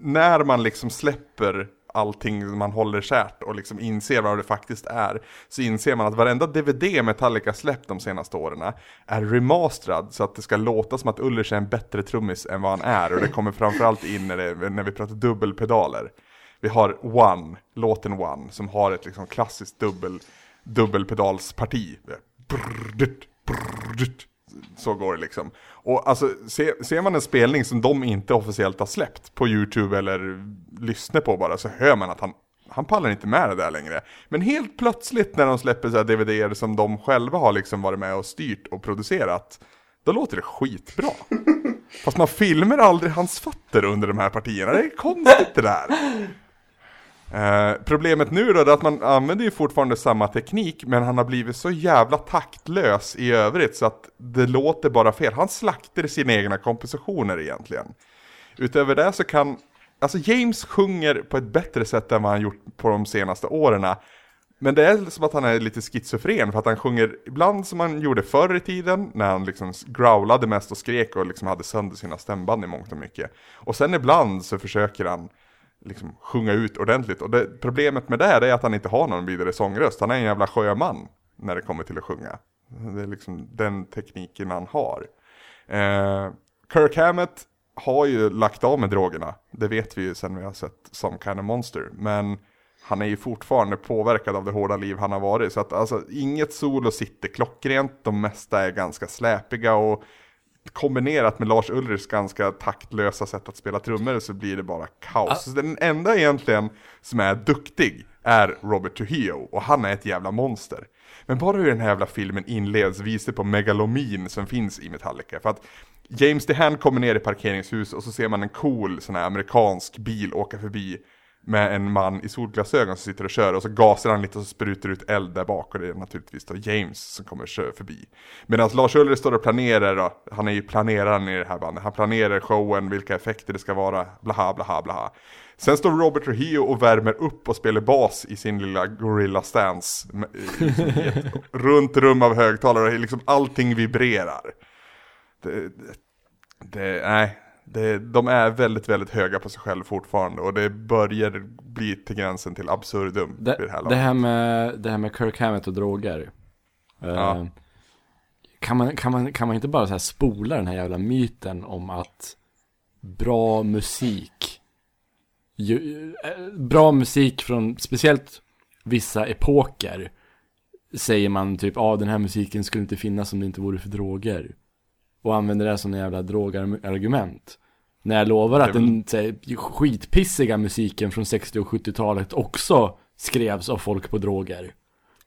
Speaker 1: när man liksom släpper allting man håller kärt och liksom inser vad det faktiskt är, så inser man att varenda DVD Metallica släppt de senaste åren är remasterad så att det ska låta som att Ulrich är en bättre trummis än vad han är och det kommer framförallt in när, det, när vi pratar dubbelpedaler. Vi har One, låten One, som har ett liksom klassiskt dubbel, dubbelpedalsparti. Brrrt, brrrt. Så går det liksom. Och alltså, se, ser man en spelning som de inte officiellt har släppt på YouTube eller lyssnar på bara så hör man att han, han pallar inte med det där längre. Men helt plötsligt när de släpper så här DVDer som de själva har liksom varit med och styrt och producerat, då låter det skitbra. Fast man filmer aldrig hans fötter under de här partierna, det är konstigt det där. Eh, problemet nu då är att man använder ju fortfarande samma teknik men han har blivit så jävla taktlös i övrigt så att det låter bara fel. Han slaktar sina egna kompositioner egentligen. Utöver det så kan, alltså James sjunger på ett bättre sätt än vad han gjort på de senaste åren. Men det är som att han är lite schizofren för att han sjunger ibland som han gjorde förr i tiden när han liksom growlade mest och skrek och liksom hade sönder sina stämband i mångt och mycket. Och sen ibland så försöker han liksom sjunga ut ordentligt. Och det, problemet med det här är att han inte har någon vidare sångröst. Han är en jävla sjöman när det kommer till att sjunga. Det är liksom den tekniken han har. Eh, Kirk Hammett har ju lagt av med drogerna. Det vet vi ju sen vi har sett Some Kind of Monster. Men han är ju fortfarande påverkad av det hårda liv han har varit. Så att alltså inget solo sitter klockrent. De mesta är ganska släpiga och kombinerat med Lars Ulrichs ganska taktlösa sätt att spela trummor så blir det bara kaos. Så Den enda egentligen som är duktig är Robert Trujillo och han är ett jävla monster. Men bara hur den här jävla filmen inleds visar på megalomin som finns i Metallica. För att James DeHaan kommer ner i parkeringshus och så ser man en cool sån här amerikansk bil åka förbi med en man i solglasögon som sitter och kör och så gasar han lite och så sprutar ut eld där bak och det är naturligtvis då James som kommer kö- förbi. Medan Lars Ulrich står och planerar då, han är ju planeraren i det här bandet, han planerar showen, vilka effekter det ska vara, blaha blaha blaha. Sen står Robert Trujillo och värmer upp och spelar bas i sin lilla gorilla stance. med- i ett runt rum av högtalare och liksom allting vibrerar. Det, det, nej, det, de är väldigt, väldigt höga på sig själv fortfarande och det börjar bli till gränsen till absurdum vid det här
Speaker 2: Det, det,
Speaker 1: laget.
Speaker 2: här med, det här med Kirk Hammett och droger. Eh,
Speaker 1: Ja.
Speaker 2: kan, man, kan, man, kan man inte bara så här spola den här jävla myten om att bra musik, ju, eh, bra musik från speciellt vissa epoker, säger man typ ah, den här musiken skulle inte finnas om det inte vore för droger. Och använder det som en jävla drogargument. När jag lovar att
Speaker 1: Det är väl-
Speaker 2: den så här, skitpissiga musiken från 60 och 70-talet också skrevs av folk på droger.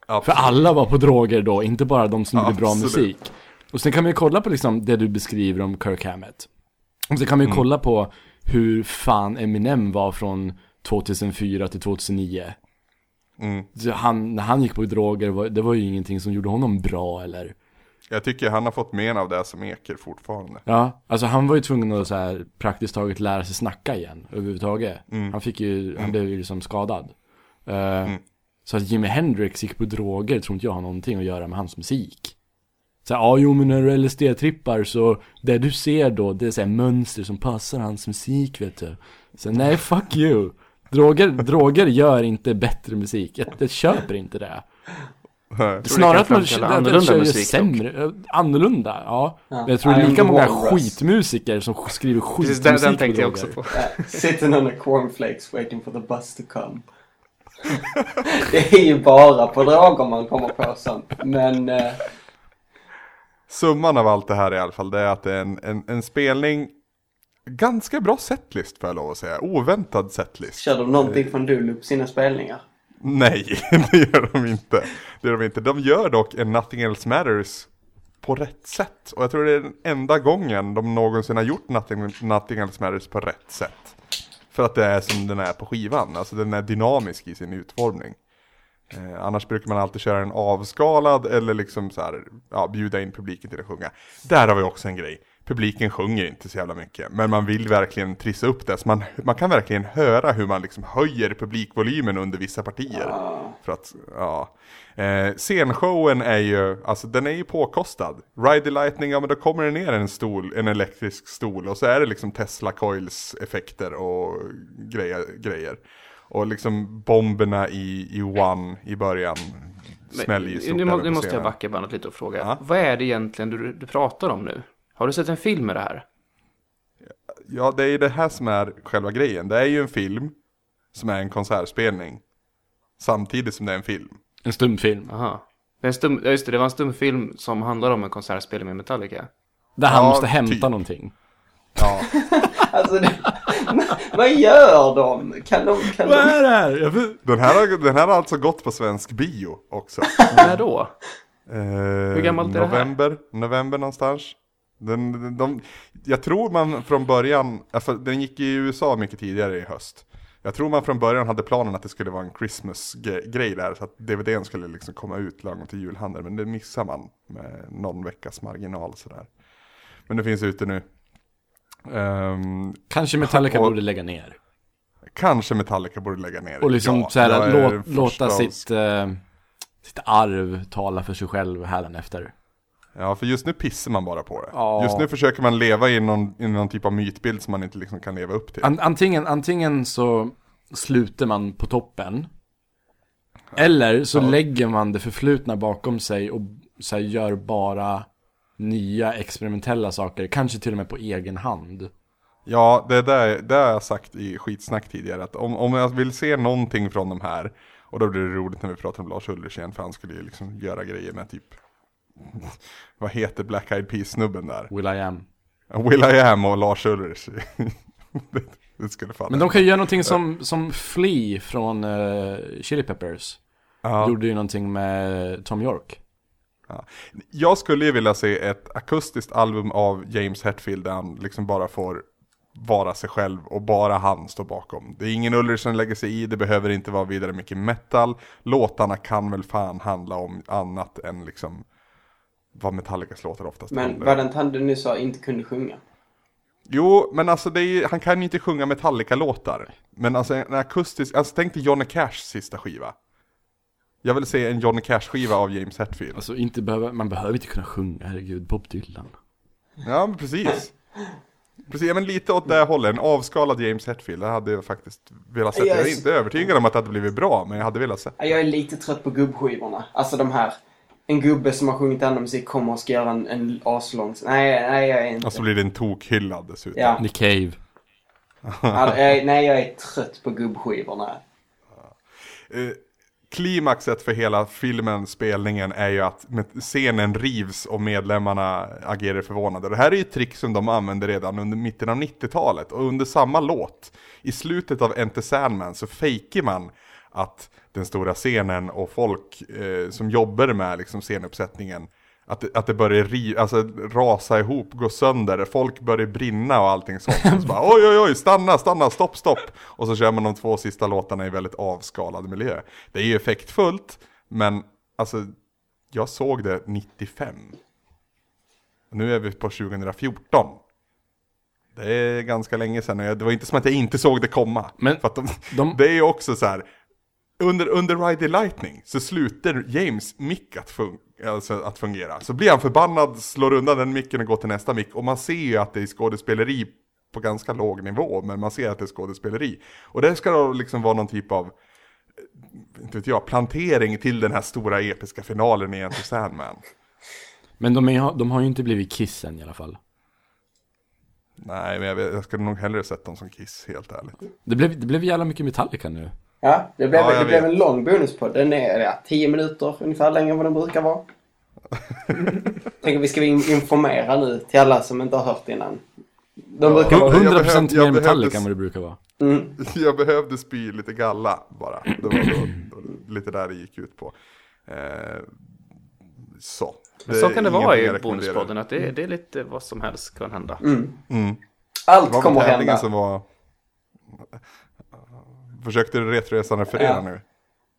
Speaker 2: För
Speaker 1: Absolut.
Speaker 2: alla var på droger då, inte bara de som gjorde bra
Speaker 1: Absolut.
Speaker 2: musik. Och sen kan man ju kolla på liksom det du beskriver om Kirk Hammett. Och sen kan man
Speaker 1: Mm.
Speaker 2: ju kolla på hur fan Eminem var från 2004 till 2009.
Speaker 1: Mm.
Speaker 2: Så han, när han gick på droger, var, det var ju ingenting som gjorde honom bra eller
Speaker 1: Jag tycker han har fått men av det som eker fortfarande.
Speaker 2: Ja, alltså han var ju tvungen att så här, praktiskt taget lära sig snacka igen överhuvudtaget. Han, fick ju, han blev ju liksom skadad. Eh, Så att Jimi Hendrix gick på droger tror inte jag har någonting att göra med hans musik. Så här, ja, jo, men när du LSD-trippar så det du ser då, det är så här, mönster som passar hans musik, vet du. Så nej, fuck you. Droger, droger gör inte bättre musik. Jag, jag köper inte det. Snarare
Speaker 4: kan
Speaker 2: att man
Speaker 4: framkalla
Speaker 2: att den
Speaker 4: annorlunda
Speaker 2: kör ju
Speaker 4: musik dock.
Speaker 2: sämre, eh, annorlunda, ja.
Speaker 3: Ja.
Speaker 2: Men jag tror det är
Speaker 3: I
Speaker 2: lika
Speaker 3: am the
Speaker 2: många
Speaker 3: walrus.
Speaker 2: skitmusiker som sk- skriver
Speaker 4: Precis,
Speaker 2: skitmusik
Speaker 4: den, den tänkte jag
Speaker 2: droger.
Speaker 4: också på.
Speaker 3: Ja, Sitting on a cornflakes waiting for the bus to come. det är ju bara på droger man kommer på sånt. Men eh,
Speaker 1: Summan av allt det här i alla fall, det är att det är en, en, en spelning Ganska bra setlist får jag lov att säga, oväntad setlist.
Speaker 3: kör de någonting från Dulup sina spelningar?
Speaker 1: Nej, det gör de inte. Det gör de inte. De gör dock en Nothing Else Matters på rätt sätt. Och jag tror det är den enda gången de någonsin har gjort Nothing, Nothing Else Matters på rätt sätt. För att det är som den är på skivan, alltså den är dynamisk i sin utformning. Eh, annars brukar man alltid köra en avskalad eller liksom så här, ja, bjuda in publiken till att sjunga. Där har vi också en grej. Publiken sjunger inte så jävla mycket, men man vill verkligen trissa upp det. Så man, man kan verkligen höra hur man liksom höjer publikvolymen under vissa partier. För att, ja. Eh, scenshowen är ju, alltså den är ju påkostad. Ride the Lightning, ja men då kommer det ner en stol, en elektrisk stol och så är det liksom Tesla Coils effekter och grejer. grejer. Och liksom bomberna i, i One i början
Speaker 4: Men
Speaker 1: smäller ju stort
Speaker 4: nu,
Speaker 1: även
Speaker 4: må,
Speaker 1: på
Speaker 4: nu måste jag
Speaker 1: scenen.
Speaker 4: backa bandet lite och fråga.
Speaker 1: Ja.
Speaker 4: Vad är det egentligen du, du pratar om nu? Har du sett en film med det här?
Speaker 1: Ja, det är ju det här som är själva grejen. Det är ju en film som är en konsertspelning. Samtidigt som det är en film.
Speaker 2: En stumfilm.
Speaker 4: Aha. Det är en stum, ja, just det, det var en stumfilm som handlar om en konsertspelning med Metallica.
Speaker 2: Där han
Speaker 1: Ja,
Speaker 2: måste hämta
Speaker 1: typ.
Speaker 2: någonting.
Speaker 1: Ja.
Speaker 3: Alltså, det, vad gör de? Kan de... Kan de
Speaker 2: är det här? Jag vet-
Speaker 1: Den här, har, den här har alltså gått på svensk bio också.
Speaker 4: När då?
Speaker 1: Eh,
Speaker 4: gammalt är det här?
Speaker 1: november, november någonstans. Den, den, de, jag tror man från början, ja, för den gick i USA mycket tidigare i höst. Jag tror man från början hade planen att det skulle vara en Christmas-grej där, så att DVDn skulle liksom komma ut lagom till julhandeln, men det missar man med någon veckas marginal sådär. Men det finns ute nu. Ehm,
Speaker 2: Kanske Metallica
Speaker 1: Och-
Speaker 2: borde lägga ner.
Speaker 1: kanske Metallica borde lägga ner det.
Speaker 2: Och liksom
Speaker 1: Ja,
Speaker 2: så här,
Speaker 1: jag är den
Speaker 2: låt,
Speaker 1: första
Speaker 2: låta
Speaker 1: att-
Speaker 2: sitt, eh, sitt arv tala för sig själv hädanefter.
Speaker 1: Ja, för just nu pissar man bara på det.
Speaker 2: Ja.
Speaker 1: Just nu försöker man leva i någon, i någon typ av mytbild som man inte liksom kan leva upp till.
Speaker 2: An, antingen, antingen så sluter man på toppen. Eller så lägger man det förflutna bakom sig och så här, gör bara nya experimentella saker. Kanske till och med på egen hand.
Speaker 1: Ja, det där, det har jag sagt i skitsnack tidigare. Att om, om jag vill se någonting från de här, och då blir det roligt när vi pratar om Lars Ulrich igen, för han skulle ju liksom göra grejer med typ, vad heter Black Eyed Peas-snubben där?
Speaker 2: Will I am.
Speaker 1: Will I Am och Lars Ulrich. det, det skulle falla.
Speaker 2: Men de kan ju göra någonting som, som Flea från eh, Chili Peppers. Gjorde ju någonting med Tom York.
Speaker 1: Ja. Jag skulle ju vilja se ett akustiskt album av James Hetfield där han liksom bara får vara sig själv och bara han står bakom. Det är ingen Ulrich som lägger sig i, det behöver inte vara vidare mycket metal. Låtarna kan väl fan handla om annat än liksom vad Metallicas låtar oftast
Speaker 3: men
Speaker 1: handlar
Speaker 3: var det inte han du nu sa inte kunde sjunga?
Speaker 1: Jo, men alltså det är, ju- han kan ju inte sjunga Metallica-låtar. Men alltså en akustisk, alltså tänk dig Johnny Cashs sista skiva. Jag vill se en Johnny Cash-skiva av James Hetfield.
Speaker 2: Alltså inte behöver, man behöver inte kunna sjunga, herregud, Bob Dylan.
Speaker 1: Ja, men precis. Precis, ja, men lite åt det hållet. En avskalad James Hetfield, det hade jag faktiskt velat se. Jag är inte övertygad om att det hade blivit bra, men jag hade velat se.
Speaker 3: Ja, Jag är lite trött på gubbskivorna. Alltså de här. En gubbe som har sjungit annan musik kommer och ska göra en, en aslång... Nej, nej jag är inte...
Speaker 1: Och så blir det en tokhyllad dessutom.
Speaker 3: ja.
Speaker 2: Nick Cave.
Speaker 3: Alltså, jag, nej, jag är trött på gubbskivorna.
Speaker 1: Eh, klimaxet för hela filmen, spelningen, är ju att med- scenen rivs och medlemmarna agerar förvånade. Det här är ju ett trick som de använde redan under mitten av 90-talet och under samma låt. I slutet av Enter Sandman så fejkar man att den stora scenen och folk eh, som jobbar med liksom, scenuppsättningen Att, det- att det börjar ri, alltså, rasa ihop, gå sönder, folk börjar brinna och allting sånt. Och så bara, oj, oj, oj, stanna, stanna, stopp, stopp. Och så kör man de två sista låtarna i väldigt avskalad miljö. Det är ju effektfullt, men alltså, jag såg det 95. Nu är vi på 2014. Det är ganska länge sedan och jag- det var inte som att jag inte såg det komma.
Speaker 2: Men
Speaker 1: för att de,
Speaker 2: de-
Speaker 1: Det är ju också så här, under, under Ride the Lightning så slutar James mick att, fun alltså att fungera. Så blir han förbannad, slår undan den micken och går till nästa mick. Och man ser ju att det är skådespeleri på ganska låg nivå, men man ser att det är skådespeleri. Och det ska då liksom vara någon typ av, eh, inte vet jag, plantering till den här stora episka finalen i Enter Sandman.
Speaker 2: Men de, är, de har ju inte blivit kissen i alla fall.
Speaker 1: Nej, men jag, vet- jag skulle nog hellre sett dem som Kiss, helt ärligt.
Speaker 2: Det blev, det blev jävla mycket Metallica nu.
Speaker 3: Ja, det blev,
Speaker 1: Ja, jag
Speaker 3: det blev
Speaker 1: vet.
Speaker 3: en lång bonuspodd. Den är ja, 10 minuter ungefär längre än vad den brukar vara. Tänker vi ska vi in- informera nu till alla som inte har hört innan. De brukar vara...
Speaker 1: jag
Speaker 2: 100%
Speaker 1: behövde- jag
Speaker 2: mer Metallica
Speaker 1: behövdes-
Speaker 2: än vad det brukar vara.
Speaker 1: Jag behövde spy lite galla bara. Det var, det var lite där det gick ut på. Eh, så.
Speaker 4: Men så
Speaker 1: är
Speaker 4: kan det
Speaker 1: ingenting
Speaker 4: vara
Speaker 1: jag
Speaker 4: i
Speaker 1: rekommenderar.
Speaker 4: Bonuspodden, att det, det är lite vad som helst kan hända.
Speaker 1: Det
Speaker 3: Allt
Speaker 1: var väl
Speaker 3: kommer att
Speaker 1: tävlingen
Speaker 3: hända.
Speaker 1: som var... Försökte du Retroresan referera
Speaker 3: Ja. Mm.
Speaker 1: nu?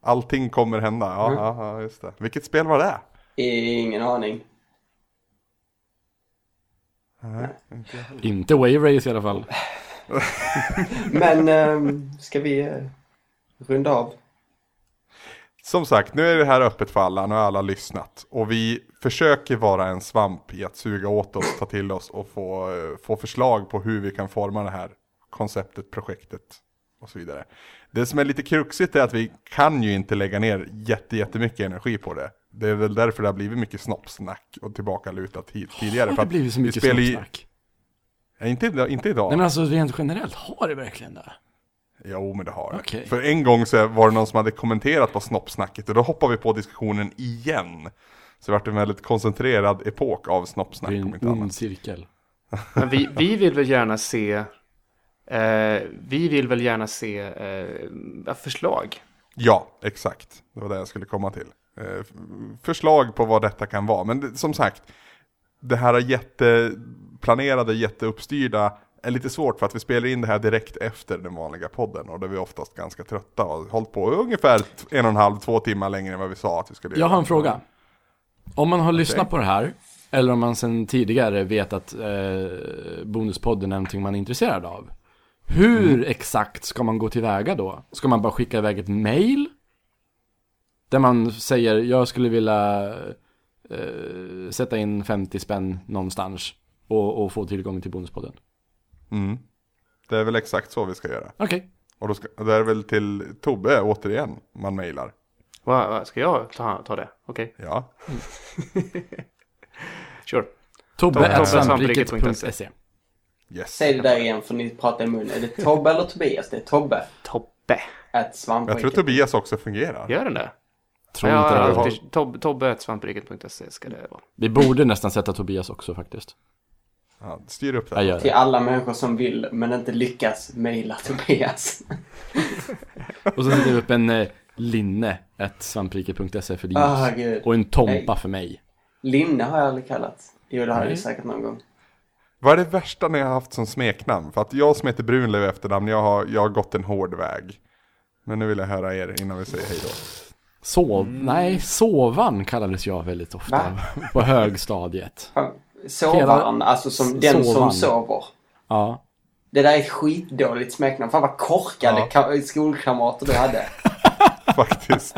Speaker 1: Allting kommer hända, ja, ja, ja, just det. Vilket spel var det?
Speaker 3: Ingen aning.
Speaker 2: Inte Wave Race i alla fall.
Speaker 3: Men ehm, ska vi eh, runda av?
Speaker 1: Som sagt, nu är det här öppet för alla, nu har alla lyssnat. Och vi försöker vara en svamp i att suga åt oss, ta till oss och få, eh, få förslag på hur vi kan forma det här konceptet, projektet och så vidare. Det som är lite kruxigt är att vi kan ju inte lägga ner jätte, jättemycket energi på det. Det är väl därför det har blivit mycket snoppsnack och tillbakalutat hit tidigare.
Speaker 2: Har
Speaker 1: för
Speaker 2: det
Speaker 1: att
Speaker 2: blivit så
Speaker 1: vi
Speaker 2: mycket
Speaker 1: spelar ju-
Speaker 2: snack?
Speaker 1: Nej, inte, idag- inte idag.
Speaker 2: Nej men alltså rent generellt, har det verkligen det?
Speaker 1: Jo, men det har jag.
Speaker 2: Okej.
Speaker 1: För en gång så var det någon som hade kommenterat på snoppsnacket och då hoppade vi på diskussionen igen. Så det vart en väldigt koncentrerad epok av snoppsnack
Speaker 2: Det är
Speaker 1: om
Speaker 2: en
Speaker 1: inte annat.
Speaker 2: ond cirkel.
Speaker 4: Men vi, vi vill väl gärna se, eh, vi vill väl gärna se eh, förslag.
Speaker 1: Ja, exakt. Det var det jag skulle komma till. Eh, f- förslag på vad detta kan vara. Men det, som sagt, det här jätteplanerade, jätteuppstyrda är lite svårt för att vi spelar in det här direkt efter den vanliga podden och då är vi oftast ganska trötta och har hållit på ungefär t- en och en halv, två timmar längre än vad vi sa att vi
Speaker 4: Typ.
Speaker 1: skulle göra.
Speaker 2: Jag har en fråga. Om man har lyssnat på det här, eller om man sedan tidigare vet att eh, Bonuspodden är någonting man är intresserad av. Hur
Speaker 4: Mm.
Speaker 2: exakt ska man gå tillväga då? Ska man bara skicka iväg ett mail? Där man säger, jag skulle vilja eh, sätta in 50 spänn någonstans och, och få tillgång till Bonuspodden.
Speaker 1: Mm. Det är väl exakt så vi ska göra.
Speaker 2: Okej,
Speaker 1: Och då ska, det är väl till Tobbe återigen man mejlar.
Speaker 4: Va, va, ska jag ta, ta det? Okej,
Speaker 1: Ja.
Speaker 4: sure.
Speaker 2: Tobbe
Speaker 4: Tobbe
Speaker 2: at
Speaker 4: svampriket punkt se.
Speaker 2: svampriket.se.
Speaker 1: Yes.
Speaker 3: Säg det där igen för ni pratar i mun. Är det Tobbe eller Tobias? Det är Tobbe.
Speaker 4: Tobbe.
Speaker 3: Att
Speaker 1: Jag tror Tobias också fungerar.
Speaker 4: Gör den det?
Speaker 2: Tror
Speaker 4: Ja,
Speaker 2: inte det.
Speaker 1: har-
Speaker 4: alltid, Tob, Tobbe svampriket.se E ska det vara.
Speaker 2: Vi borde nästan sätta Tobias också faktiskt.
Speaker 1: Ja, styr upp det.
Speaker 2: Jag gör
Speaker 3: Till
Speaker 2: det.
Speaker 3: alla människor som vill men inte lyckas mejla Tobias.
Speaker 2: Och så sätter vi upp en eh, linne, ett svampriket.se för Linus.
Speaker 3: Ah, gud.
Speaker 2: och en tompa
Speaker 3: Nej.
Speaker 2: för mig.
Speaker 3: Linne har jag aldrig kallat. Jo, det har jag ju
Speaker 2: Nej.
Speaker 3: säkert någon gång.
Speaker 1: Vad är det värsta ni har haft som smeknamn? För att jag som heter Brunlöv i efternamn, jag har, jag har gått en hård väg. Men nu vill jag höra er innan vi säger hej då.
Speaker 2: Sov... Nej, sovan kallades jag väldigt ofta på högstadiet.
Speaker 3: Fan, Sovaren, alltså som den som
Speaker 2: Sovaren.
Speaker 3: sover.
Speaker 2: Ja.
Speaker 3: Det där är ett skitdåligt smeknamn. Fan vad korkade ka- skolkamrater du hade.
Speaker 1: Faktiskt.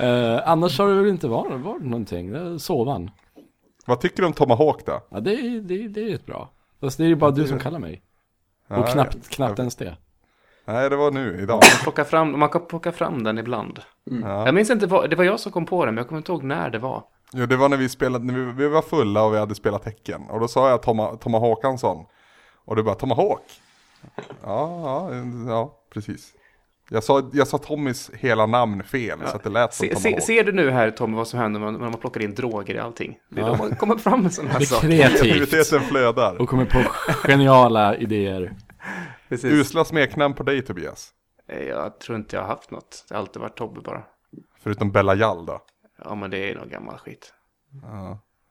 Speaker 2: Eh, annars har det väl inte varit, varit någonting. Det är Sovan.
Speaker 1: Vad tycker du om Tomahawk då?
Speaker 2: Ja, det, är- det, är- det är rätt bra. Fast det är ju bara du som kallar mig.
Speaker 1: Ja,
Speaker 2: Och
Speaker 1: jag
Speaker 2: knappt,
Speaker 1: vet.
Speaker 2: knappt ens det.
Speaker 1: Nej, det var nu, idag.
Speaker 4: Plocka fram, man kan plocka fram den ibland.
Speaker 1: Ja.
Speaker 4: Jag minns inte, vad, det var jag som kom på den, men jag kommer inte ihåg när det var.
Speaker 1: Jo, det var när vi spelade, när vi, vi var fulla och vi hade spelat Häcken. Och då sa jag Toma, Toma Håkansson. Och du bara, Tomahawk? Ja, ja, ja, precis. Jag sa, jag sa Tommys hela namn fel, så att det lät som
Speaker 4: Se,
Speaker 1: Tomahawk.
Speaker 4: se, ser du nu här Tommy vad som händer när man, när man plockar in droger i allting? Det är då man kommer fram med sådana här
Speaker 2: Det är
Speaker 4: saker.
Speaker 2: kreativt.
Speaker 1: Kreativiteten flödar.
Speaker 2: Och kommer på geniala idéer.
Speaker 4: Precis.
Speaker 1: Usla smeknamn på dig Tobias.
Speaker 4: Eh, Jag tror inte jag har haft något. Det har alltid varit Tobbe bara.
Speaker 1: Förutom Bella Jall då.
Speaker 4: Ja, men det är någon gammal skit.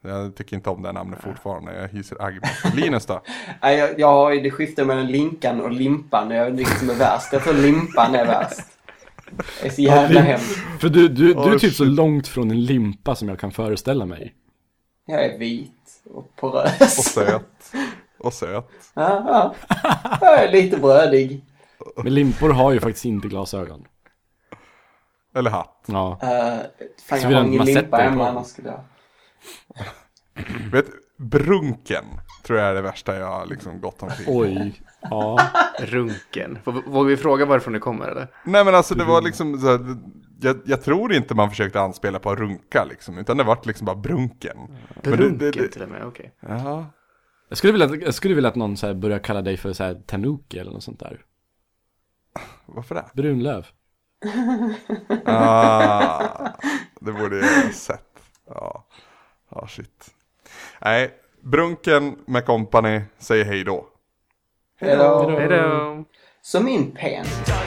Speaker 1: Jag tycker inte om det här namnet fortfarande, jag hyser agg mot det. Linus då?
Speaker 3: Nej, jag, jag har ju det skiftet mellan Linkan och Limpan. Jag vet inte vilket som är värst. Jag tror Limpan är värst. Det är så jävla hemskt.
Speaker 2: För du, du, du
Speaker 1: Oh,
Speaker 2: är typ så
Speaker 1: shit.
Speaker 2: långt från en limpa som jag kan föreställa mig.
Speaker 3: Jag är vit och porös.
Speaker 1: Och söt. Och söt.
Speaker 3: Ja, ja. Jag är lite brödig.
Speaker 2: Men limpor har ju faktiskt inte glasögon.
Speaker 1: Eller hatt.
Speaker 2: Ja.
Speaker 3: Uh, fan,
Speaker 2: Så
Speaker 3: jag
Speaker 2: vill
Speaker 3: har
Speaker 2: man
Speaker 3: ingen
Speaker 2: sätta
Speaker 3: limpa
Speaker 2: det på
Speaker 3: hemma
Speaker 2: den?
Speaker 3: annars skulle jag...
Speaker 1: Vet, brunken tror jag är det värsta jag har liksom gått omkring.
Speaker 2: Oj. Ja.
Speaker 4: Runken. Får- Vågar vi fråga varifrån det kommer eller?
Speaker 1: Nej men alltså det var liksom så här, jag, jag tror inte man försökte anspela på att runka liksom, utan det vart liksom bara brunken. Men det-
Speaker 4: Runken
Speaker 1: det- det-
Speaker 4: till och med, okej.
Speaker 1: Ja.
Speaker 2: Jag skulle vilja, att- jag skulle vilja att någon så här börjar kalla dig för så här tanuki eller något sånt där.
Speaker 1: Varför det?
Speaker 2: Brunlöv.
Speaker 1: Ah, det borde jag ha sett. Ja, ah, shit. Nej, Brunken med company säger hej då.
Speaker 3: Hello.
Speaker 4: Hej då.
Speaker 3: Så min penis.